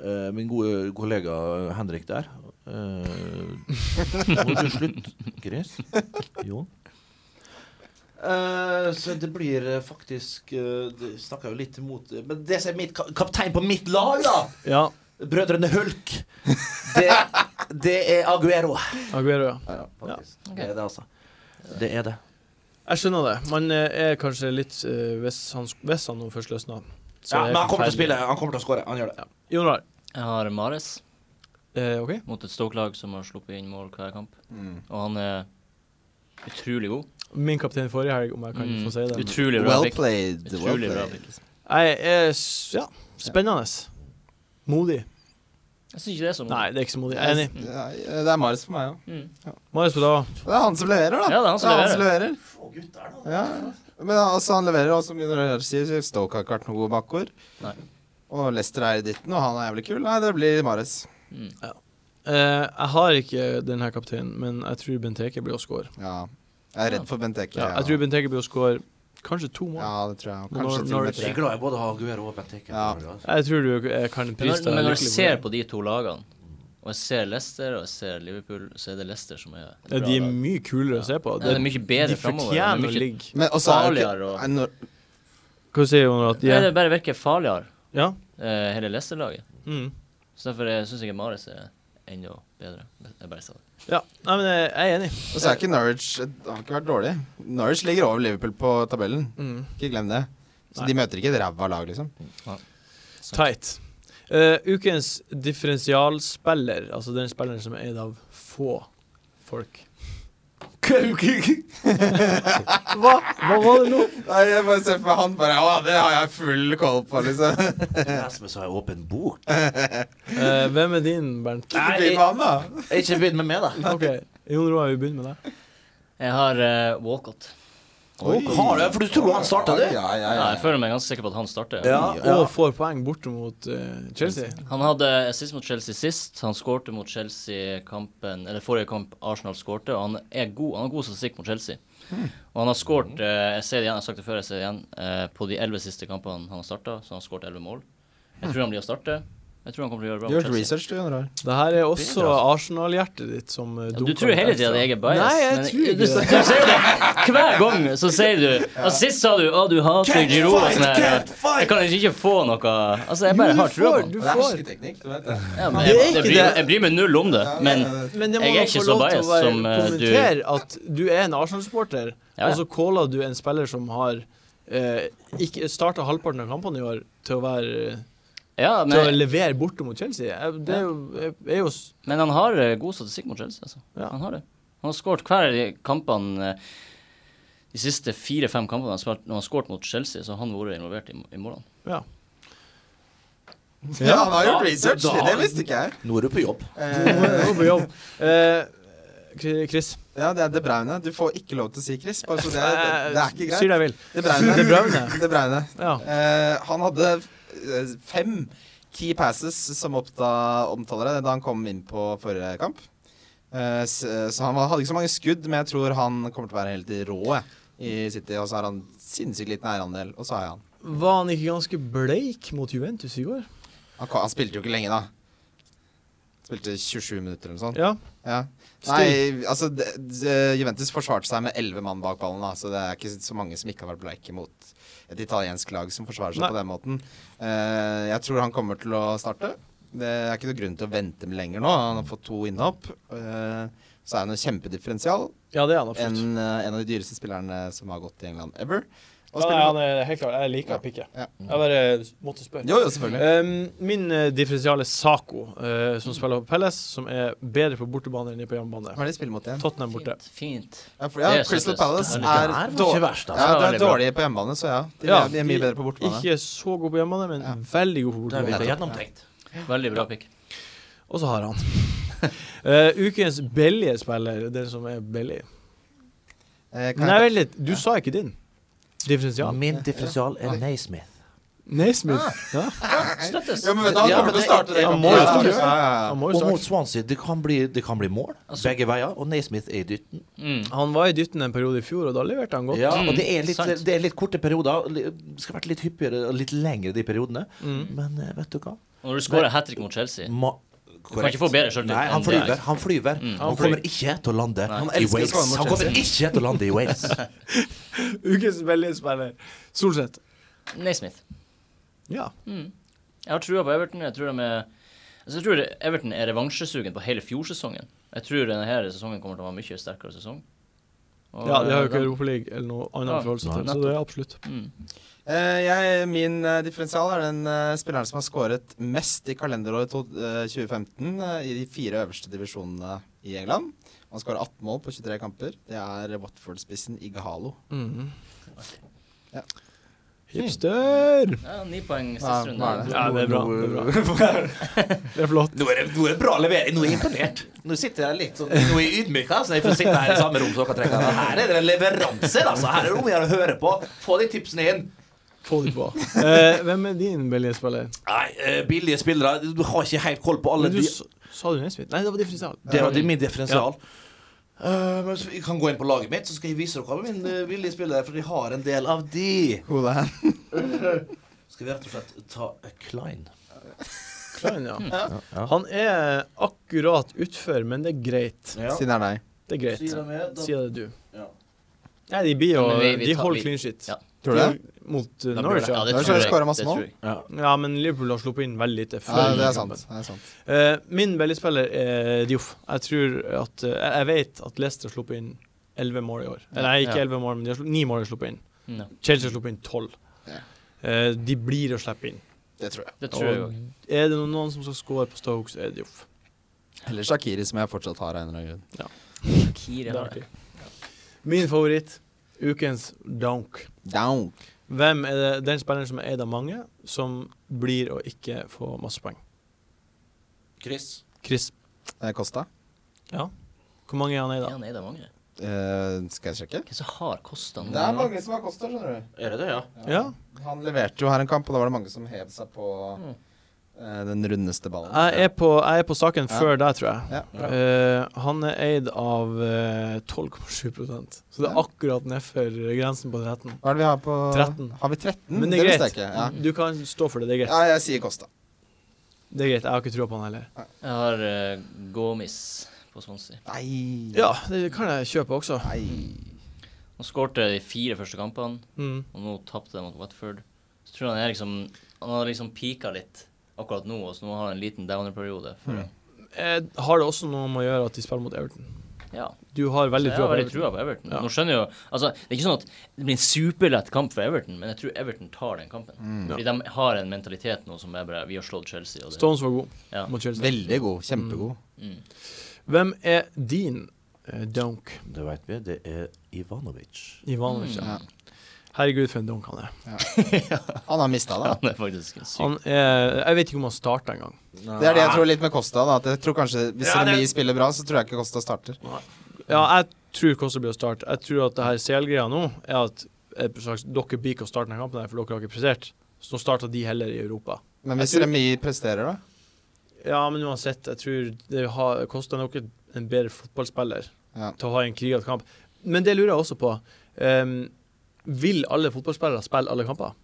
eh, min gode kollega Henrik der. Eh, må du slutte, Chris? Jo. Eh, så det blir eh, faktisk eh, Det snakker jo litt imot eh, Men det som er mitt ka kaptein på mitt lag, da!
Ja.
Brødrene Hulk. Det, det er Aguero.
Aguero. ja.
Ja, faktisk. Det er det, altså. Det er det.
Jeg skjønner det. Man eh, er kanskje litt eh, Hvis han, hvis han nå først løsner så
Ja,
er
men han kommer til
forferdelig.
å spille. Han kommer til å skåre. Han gjør det.
Jon Rar.
Jeg har Mares
Eh, OK?
mot et Stoke-lag som har sluppet inn mål hver kamp.
Mm.
Og han er utrolig god.
Min kaptein forrige helg, om jeg kan få si det. men-
Utrolig bra
Well
pick.
played. Well
Utrolig bra
played.
pick.
Jeg er s- Ja. Spennende. Modig.
Jeg syns ikke det er så Mm.
Nei,
mye.
det er ikke så modig. Jeg er enig.
Ja, Det er Marius for meg òg.
Marius Bedava.
Det er han som leverer, da.
Ja, det er han som
leverer. Ja. Men altså, han leverer, og som Gunnar Øyer sier, så Stoke har ikke vært noen gode bakord.
Nei.
Og Lester er i ditten, og han er jævlig kul. Nei, det blir Mares.
Eh, jeg har ikke denne kapteinen, men jeg tror Benteke blir å score.
Ja. Jeg er redd for Bent Eke.
Ja, jeg tror Benteke blir å score kanskje to mål.
ja, det tror jeg.
Når-
Kanskje til og
når-
med
Jeg er
tre.
glad jeg både har Aguero og Benteke.
Ja.
altså.
Jeg tror du eh, kan
Men
prise deg
når, men når jeg
lykkelig
ser
for det.
på de to lagene, og jeg ser Leicester og jeg ser Liverpool, så er det Leicester som er et
Ja,
bra
de er
lag.
mye kulere å se på.
Ja, det er mye bedre
de
fremover.
fortjener å
Det er mye-
ligge.
Men også er det
Farligere
ikke
og-
er når,
Hva sier hun at de
Nei,
er?
det bare virker farligere,
Ja?
eh, hele Leicester-laget.
Mm.
Så derfor syns jeg Mares er enda bedre. Jeg bare sa det.
ja. Nei, men jeg jeg er enig.
Og så er ikke Norwich Det har ikke vært dårlig. Norwich ligger over Liverpool på tabellen.
Mm.
Ikke glem det. Så
Nei.
de møter ikke et ræva lag, liksom.
Tight. Eh, ukens differensialspiller, altså den spilleren som er eid av få folk. Hva? Hva var det nå?
Nei, jeg bare ser for meg han bare Å, det har jeg full koll på, liksom.
Rasmus har jo åpen bok.
Eh, hvem er din, Bernt?
Nei,
Bli
jeg-
med han, da.
Jeg Ikke begynn med meg, da.
OK, Jon Roar, vi begynner med deg.
Jeg har eh, Walcott.
Har du, for du tror han starta det?
Ja, ja,
Ja,
ja.
jeg føler meg ganske sikker på at han starter.
Og får poeng borte mot eh, Chelsea.
Han hadde assist mot Chelsea sist. Han skårte mot Chelsea kampen Eller forrige kamp Arsenal skårte, og han er god Han har god statistikk mot Chelsea.
Hmm.
Og han har skåret eh, Jeg ser det igjen, jeg har sagt det før, jeg ser det igjen. eh, på de elleve siste kampene han har starta, så han har skåret elleve mål. Jeg tror han blir å starte. Jeg tror han kommer til å
Du
gjøre bra
har
mot
gjort
Chelsea.
research, du, Gunnar. Øyer.
Det her er også Arsenal-hjertet ditt som eh,
Ja, du
dunker
tror
litt
hele
ekstra.
tida jeg er
altså.
bias.
Nei, jeg
men
tror
du, du,
ikke det.
sier jo det hver gang. Så sier du altså, Sist sa du at du hater Giroud og sånn her. Jeg kan ikke få noe Altså, jeg
Jo,
bare har
du
trua på
får,
han.
du
Det er
får.
hersketeknikk, du vet det.
Ja, men
Det
jeg,
er
jeg,
ikke
bryr,
det.
jeg bryr meg null om det, men
Men det må
Jeg er
da
ikke
få
så
lov til å
biased
være,
som, eh, du-
kommentere at du er en Arsenal-supporter,
Ja, ja.
og så caller du en spiller som har eh, ikke starta halvparten av kampene i år, til å være eh,
Ja,
til å
men,
levere borte mot Chelsea. Jeg- Det er jo, er jo s-
men han har eh, god statistikk mot Chelsea, altså.
Ja.
Han har det. Han har skåret hver av de kampene eh, de siste fire-fem kampene han har spilt, når han har skåret mot Chelsea, så har han vært involvert i, i målene.
Ja.
Ja, han har gjort research, det visste ikke jeg.
Nå er du på jobb.
Nå er jeg på jobb. Eh, Kri- Chris,
Ja, det er De Braune. Du får ikke lov til å si Chris. Bare så det, er, det, det er ikke
Si
greit.
det jeg vil.
De Braune.
De Bruyne.
De Bruyne.
Ja.
Eh, han hadde eh, fem key passes, som oppta, omtaler det, da han kom inn på forrige kamp. Eh, s- så han var, hadde ikke så mange skudd, men jeg tror han kommer til å være helt rå jeg, i City. Og så har han sinnssykt liten eierandel, og så har jeg han.
Var han ikke ganske bleik mot Juventus i går?
Han, ko- han spilte jo ikke lenge, da. Spilte 27 minutter eller noe sånt.
Ja.
Ja.
Still.
Nei, altså de, de, Juventus forsvarte seg med 11 mann bak ballen, da, så det er ikke så mange som ikke har vært bleike mot et italiensk lag som forsvarer seg
Nei.
på den måten. Eh, jeg tror han kommer til å starte. Det er ikke noe grunn til å vente med lenger nå. Han har fått to innhopp. Eh, så er han en kjempedifferensial.
Ja, det er han
En,
absolutt.
eh, en av de dyreste spillerne som har gått i England ever. Og
Ja, nei,
spiller-
han er helt klar. Jeg liker Pikke.
Ja.
Jeg bare måtte spørre.
Jo, jo, selvfølgelig.
Um, min eh, differensial er Saco, eh, som spiller på Pelles, som er bedre på bortebane enn på hjemmebane.
Hva er det de spiller mot igjen?
Tottenham borte.
Fint, fint.
Ja, for, ja,
Det er
Crystal
søtest.
Palace
Det er
litt-
er,
Det var ikke
dårlig,
verst, altså.
ja, det
Det
er
var veldig bra.
dårlig på hjemmebane, så ja. De
Ja,
er, de er mye
de-
bedre på bortebane.
Ikke så god på hjemmebane, men
Ja.
veldig god på
Det er
bortebane.
veldig gjennomtenkt.
Veldig bra pick.
Og så har han. Eh, ukens billige spiller, den som er billig
Eh, kan
Nei,
jeg-
vent litt, du sa ikke din. Differensial.
Min differensial er Naismith.
Naismith. Ja.
Støttes.
Ja, men vet du, han
Ja, men
kommer til å
det-
starte det.
han må jo
Ja,
starte.
Ja, ja, ja.
Han må jo
Og mot
starte.
Swansea. Det kan bli, det kan bli mål
Altså-
begge veier, og Naismith er i dytten.
Mm.
Han var i dytten en periode i fjor, og da leverte han godt.
Ja,
Mm,
og det er, litt,
sant.
det er litt korte perioder. li- Skal vært litt hyppigere og litt lengre de periodene. Men eh, vet du hva?
Og når du skårer hat trick mot Chelsea
Ma
Du kan ikke få bedre selvtillit
Nei, han
enn det
flyver.
her. Mm.
Han flyver.
Han
Han kommer ikke til å lande
Han
i
elsker å
Wales.
skåre mot
Han kommer ikke til å lande i Wales.
Ukens billige spiller. Solseth.
Naismith.
Ja.
Jeg har trua på Everton. Jeg tror, de er, altså, jeg tror Everton er revansjesugen på hele fjorsesongen. Jeg tror denne her sesongen kommer til å være en mye sterkere sesong. Og,
ja, de har jo
eh,
ikke Europaliga eller noe annet
Ja.
å forholde seg til,
Nei.
så det er absolutt.
Eh, jeg, min eh, differensial er den eh, spilleren som har skåret mest i kalenderåret to, eh, 2015 eh, i de fire øverste divisjonene i England. Han skårer 18 mål på 23 kamper. Det er Watford-spissen Igahalo. Ja.
Hipster!
Ja, Ni poeng siste
Hva-
runde.
hva er det?
Ja, det er bra. Det er, bra. Det er flott.
Nå er det, nå er det bra levering. Nå er jeg imponert. Nå sitter jeg litt sånn Nå er jeg ydmyka, så jeg får sitte her i samme rom som dere trenger. Her er det leveranser, altså. Her er det om å gjøre å høre på. Få de tipsene inn.
Få det på. Eh, hvem er din billige spiller?
Nei, eh, billige spillere. Du har ikke helt koll på alle
Men du,
de
s- sa du Nesbitt? Nei, det var differensial.
Det var min differensial. Eh, men så vi kan gå inn på laget mitt, så skal jeg vise dere min eh, billige spillere, for jeg har en del av de. Skal vi rett og slett ta eh, Klein?
Klein, ja. Han er akkurat utfor, men det er greit.
Ja.
Siden det er deg.
Det er greit.
Sier de med, da-
Sier det du.
Ja.
Nei, de blir jo
Ja, men vi- vi
De
tar-
holder
vi-
clean shit.
Ja.
Tror du det?
Mot uh,
blir
Norwich,
det-
Ja,
ja.
det
Da har
tror
de skåret
jeg. Det
sånn masse mål.
tror jeg.
Ja, men Liverpool har sluppet inn veldig lite.
Ja,
før
det er
kampen.
sant. Det er sant.
Eh, min billigspiller er Dioff. Jeg tror at eh, Jeg jeg vet at Leicester har sluppet inn 11 mål i år. Eller nei, ikke
Ja.
11 mål, men de har sluppet, 9 mål de har sluppet inn.
Ja.
Chelsea har sluppet inn 12.
Ja.
Eh, de blir å slippe inn.
Det tror jeg.
Det tror jeg òg.
Er det noen som skal score på Stoke, så er det Dioff.
Eller Shakiri, som jeg fortsatt har av en eller annen grunn.
Shakiri
Det er
har det.
artig. Min favoritt, ukens donk.
Down.
Hvem er det, den spilleren som er eid av mange, som blir å ikke få masse poeng?
Chris.
Chris,
Eh, Kosta.
hvor mange er han eid
Ja,
av?
nei, det er mange.
Eh, skal jeg sjekke?
Hvem som har kosta
Det er mange som har Kosta, skjønner du.
Er det det, ja?
Ja.
Han leverte jo her en kamp, og da var det mange som hev seg på eh, den rundeste ballen.
Mm. Jeg er på, jeg er på saken
Ja.
før deg, tror jeg.
Ja.
Eh, han er eid av eh, 12,7 så det er
Ja.
akkurat nedfor grensen på 13.
Hva er det vi har på
13.
Har vi 13?
Men det er
Mm, visste
greit.
jeg ikke. Ja.
Du kan stå for det. Det er greit.
ja, jeg sier Kosta.
Det er greit. Jeg har ikke trua på han heller.
Jeg har eh, Gomis på Swansea.
Nei.
Ja, det kan jeg kjøpe også.
Nei.
Han skårte de fire første kampene.
Mm.
og nå tapte de mot Watford. Så tror jeg han er liksom Han har liksom pika litt akkurat
Mm.
nå, og så nå har han en liten downer-periode. før det.
Eh, har det også noe med å gjøre at de spiller mot Everton?
Ja.
Du har
Så
veldig
jeg
trua
har
på
veldig
Everton.
trua på Everton.
Ja.
Nå skjønner jeg jo Altså, det er ikke sånn at det blir en superlett kamp for Everton, men jeg tror Everton tar den kampen. Fordi de har en mentalitet nå som er bare Vi har slått Chelsea, og det
Stones var god
Ja.
mot Chelsea.
Veldig god. Kjempegod.
Hvem er din eh, dunk?
Det vet vi. Det er Ivanovic.
Mm.
Ivanovic. ja. Herregud, for en dunk han er.
Han har mista det. da.
Han er faktisk syk.
Han er Jeg vet ikke om han starta engang.
Det er det jeg tror litt med Costa. da at jeg tror kanskje Hvis
Ja, det-
Remi spiller bra, så tror jeg ikke Costa starter.
Ja, jeg tror Kosta blir å starte. Jeg tror at det her CL-greia nå er at et slags, dere blir ikke å starte denne kampen, her, for dere har ikke prestert. Så nå starter de heller i Europa.
Men hvis
Jeg tror-
Remi presterer, da?
Ja, men uansett, jeg tror det har Kosta nok en bedre fotballspiller
Ja.
til å ha en krigete kamp. Men det lurer jeg også på. Ehm, vil alle fotballspillere spille alle kamper?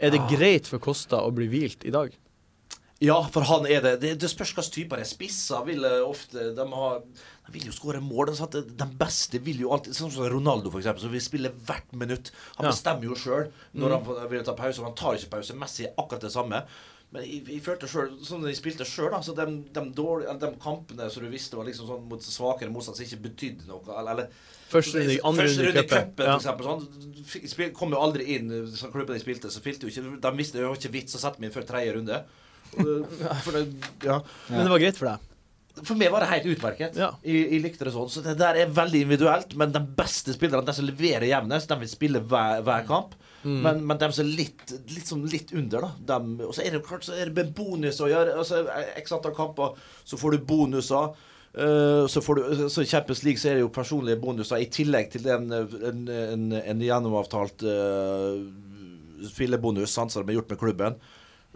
Er det greit for Kosta å bli hvilt i dag?
Ja, for han er det. Det, det spørs hvilke typer det er. Spisser vil eh, ofte De, har, de vil jo skåre mål. sant? De beste vil jo alltid Sånn som Ronaldo, for eksempel, som vil spille hvert minutt. Han
Ja.
bestemmer jo sjøl når han får- vil ta pause, og han tar ikke pause. Messi er akkurat det samme. Men jeg, jeg følte selv, sånn de spilte sjøl, altså de, de, dårlige, de kampene som du visste var liksom sånn mot svakere motstand som ikke betydde noe, eller, eller
Første runde, i- andre
Første
runde i cupen.
for
Ja.
eksempel. Sånn. F- spil- Kom jo aldri inn, eh, så klubben de spilte, så spilte jo ikke De visste det var ikke vits å sette meg inn før tredje runde. Eh, For, det, ja.
Men det var greit for deg.
for meg var det helt utmerket.
Ja.
Jeg, jeg likte det sånn. Så det der er veldig individuelt. Men de beste spillerne, de som leverer jevnest, de vil spille hver, hver kamp. Men, men de som er litt, litt, sånn litt under, da dem- Og så er det jo klart så er det med bonus å gjøre. Altså, X antall kamper, så får du bonuser. Eh, så, får du, så i Champions League så er det jo personlige bonuser i tillegg til en, en, en, en gjennomavtalt eh, spillebonus sant, som de har gjort med klubben.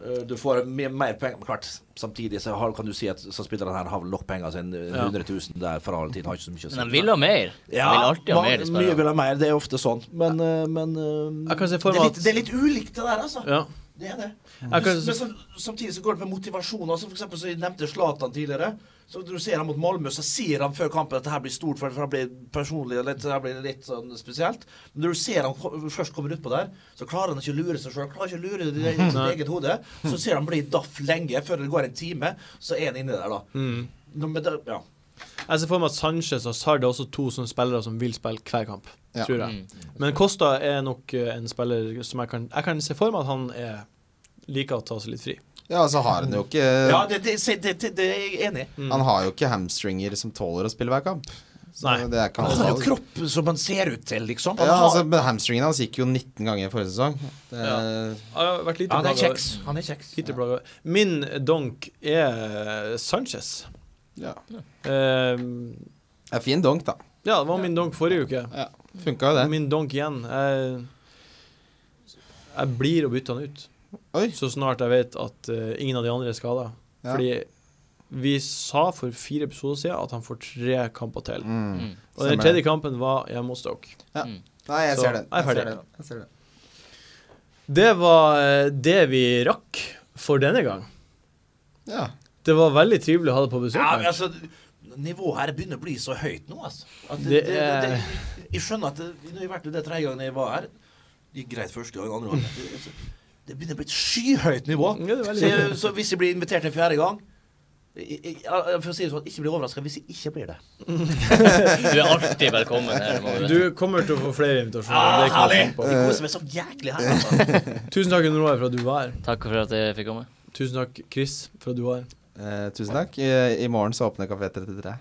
Eh, du får mer, mer penger, men klart, samtidig så har, kan du si at så spilleren her har nok penger, så en en 100 000 der for all tid har ikke så mye å si.
Men de vil ha mer. De vil alltid ha
man-
mer. de
mye
spillerne.
vil ha mer, det er ofte sånn. Men, eh, men eh,
Jeg kan se for
det, er
meg
litt,
at-
det er litt ulikt, det der, altså.
Ja.
Det er det.
Jeg kan-
Men så, samtidig så går det med motivasjon. Altså, for eksempel, så jeg nevnte Zlatan tidligere. Så når du ser han mot Malmö, så sier han før kampen at det her blir stort, for for han blir personlig og litt, det her blir litt sånn spesielt. Men når du ser han ko- først kommer utpå der, så klarer han ikke å lure seg sjøl. Klarer ikke å lure det i sitt eget hode. Så ser han bli daff lenge, før det går en time, så er han inni der, da. Nå, men da ja.
Jeg ser for meg at Sanchez og Sard er også to sånne spillere som vil spille hver kamp.
Ja.
Tror jeg. Men Costa er nok eh, en spiller som jeg kan Jeg kan se for meg at han er liker å ta seg litt fri.
Ja, altså har han jo ikke
ja det, det, se, det, det, det er jeg enig i.
Han har jo ikke hamstringer som tåler å spille hver kamp. Så
Nei.
det er ikke
Han har jo
hans
kropp som han ser ut til, liksom. Han
altså- ja,
har-
altså, men hamstringen hans gikk jo 19 ganger i forrige sesong. Det,
Jeg har vært lite
Ja, han er
plaga-
kjeks. Han er kjeks.
lite plaga. Min donk er Sanchez.
ja.
Eh,
Det er fin donk, da.
ja, det var min donk forrige uke.
Ja. Funka jo det.
Min donk igjen. Jeg, jeg blir å bytte han ut
Oi.
så snart jeg vet at eh, ingen av de andre er skada.
Ja.
Fordi vi sa for fire episoder siden at han får tre kamper til.
Mm.
Mm.
Og den
Stemmer.
tredje kampen var hjemme hos Stoke.
Nei, jeg
Så,
ser den.
jeg er
Jeg ser
ferdig.
den. Jeg ser den.
Det var eh, det vi rakk for denne gang.
Ja.
Det var veldig trivelig å ha deg på besøk.
Ja, men
Bernt.
altså, nivået her begynner å bli så høyt nå, altså. At det,
Sånn.
det,
Det
det,
er-
jeg skjønner at det, Nå har jeg vært det tredje gangen jeg var her. Det gikk greit første gang, andre gang. Det, altså, det begynner å bli et skyhøyt nivå.
Ja, det er veldig
Så, jeg, så hvis jeg blir invitert en fjerde gang jeg, jeg, jeg, for å si det sånn, ikke bli overraska hvis jeg ikke blir det.
Du er alltid velkommen her. må Du,
Du
vite.
kommer til å få flere
Ah,
invitasjoner. det kan jeg tenke på.
Jeg koser meg så jæklig her. Altså.
Tusen takk, Gunn Roar, for at du var her.
Takk for at jeg fikk komme.
Tusen takk, Chris, for at du var her.
Eh, tusen takk. I, I morgen så åpner Kafé 33.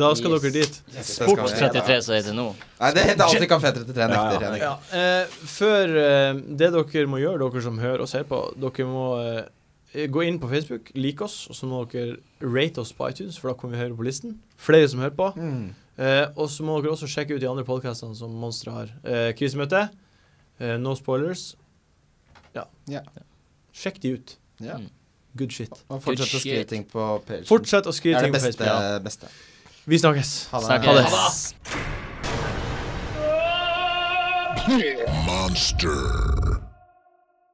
Da skal
Yes.
dere dit.
Sport
33 som heter nå.
Nei, det heter alltid Kafé 33 nekter. Henrik.
Ja, eh, før eh, Det dere må gjøre, dere som hører og ser på, dere må eh, gå inn på Facebook, like oss, og så må dere rate oss på iTunes, for da kommer vi høyere på listen. Flere som hører på.
Mm.
Eh, og så må dere også sjekke ut de andre podkastene som Monstre har. Eh, Krisemøte, eh, No Spoilers. Ja.
Ja.
Sjekk de ut.
Ja.
Good shit.
Og fortsett å
Good
skrive
shit.
ting på Page.
Fortsett å
Det
skrive
er
ting
det
på
beste.
Facebook.
beste.
Vi snakkes.
Ha det.
Snakkes. Ha det.
Monster.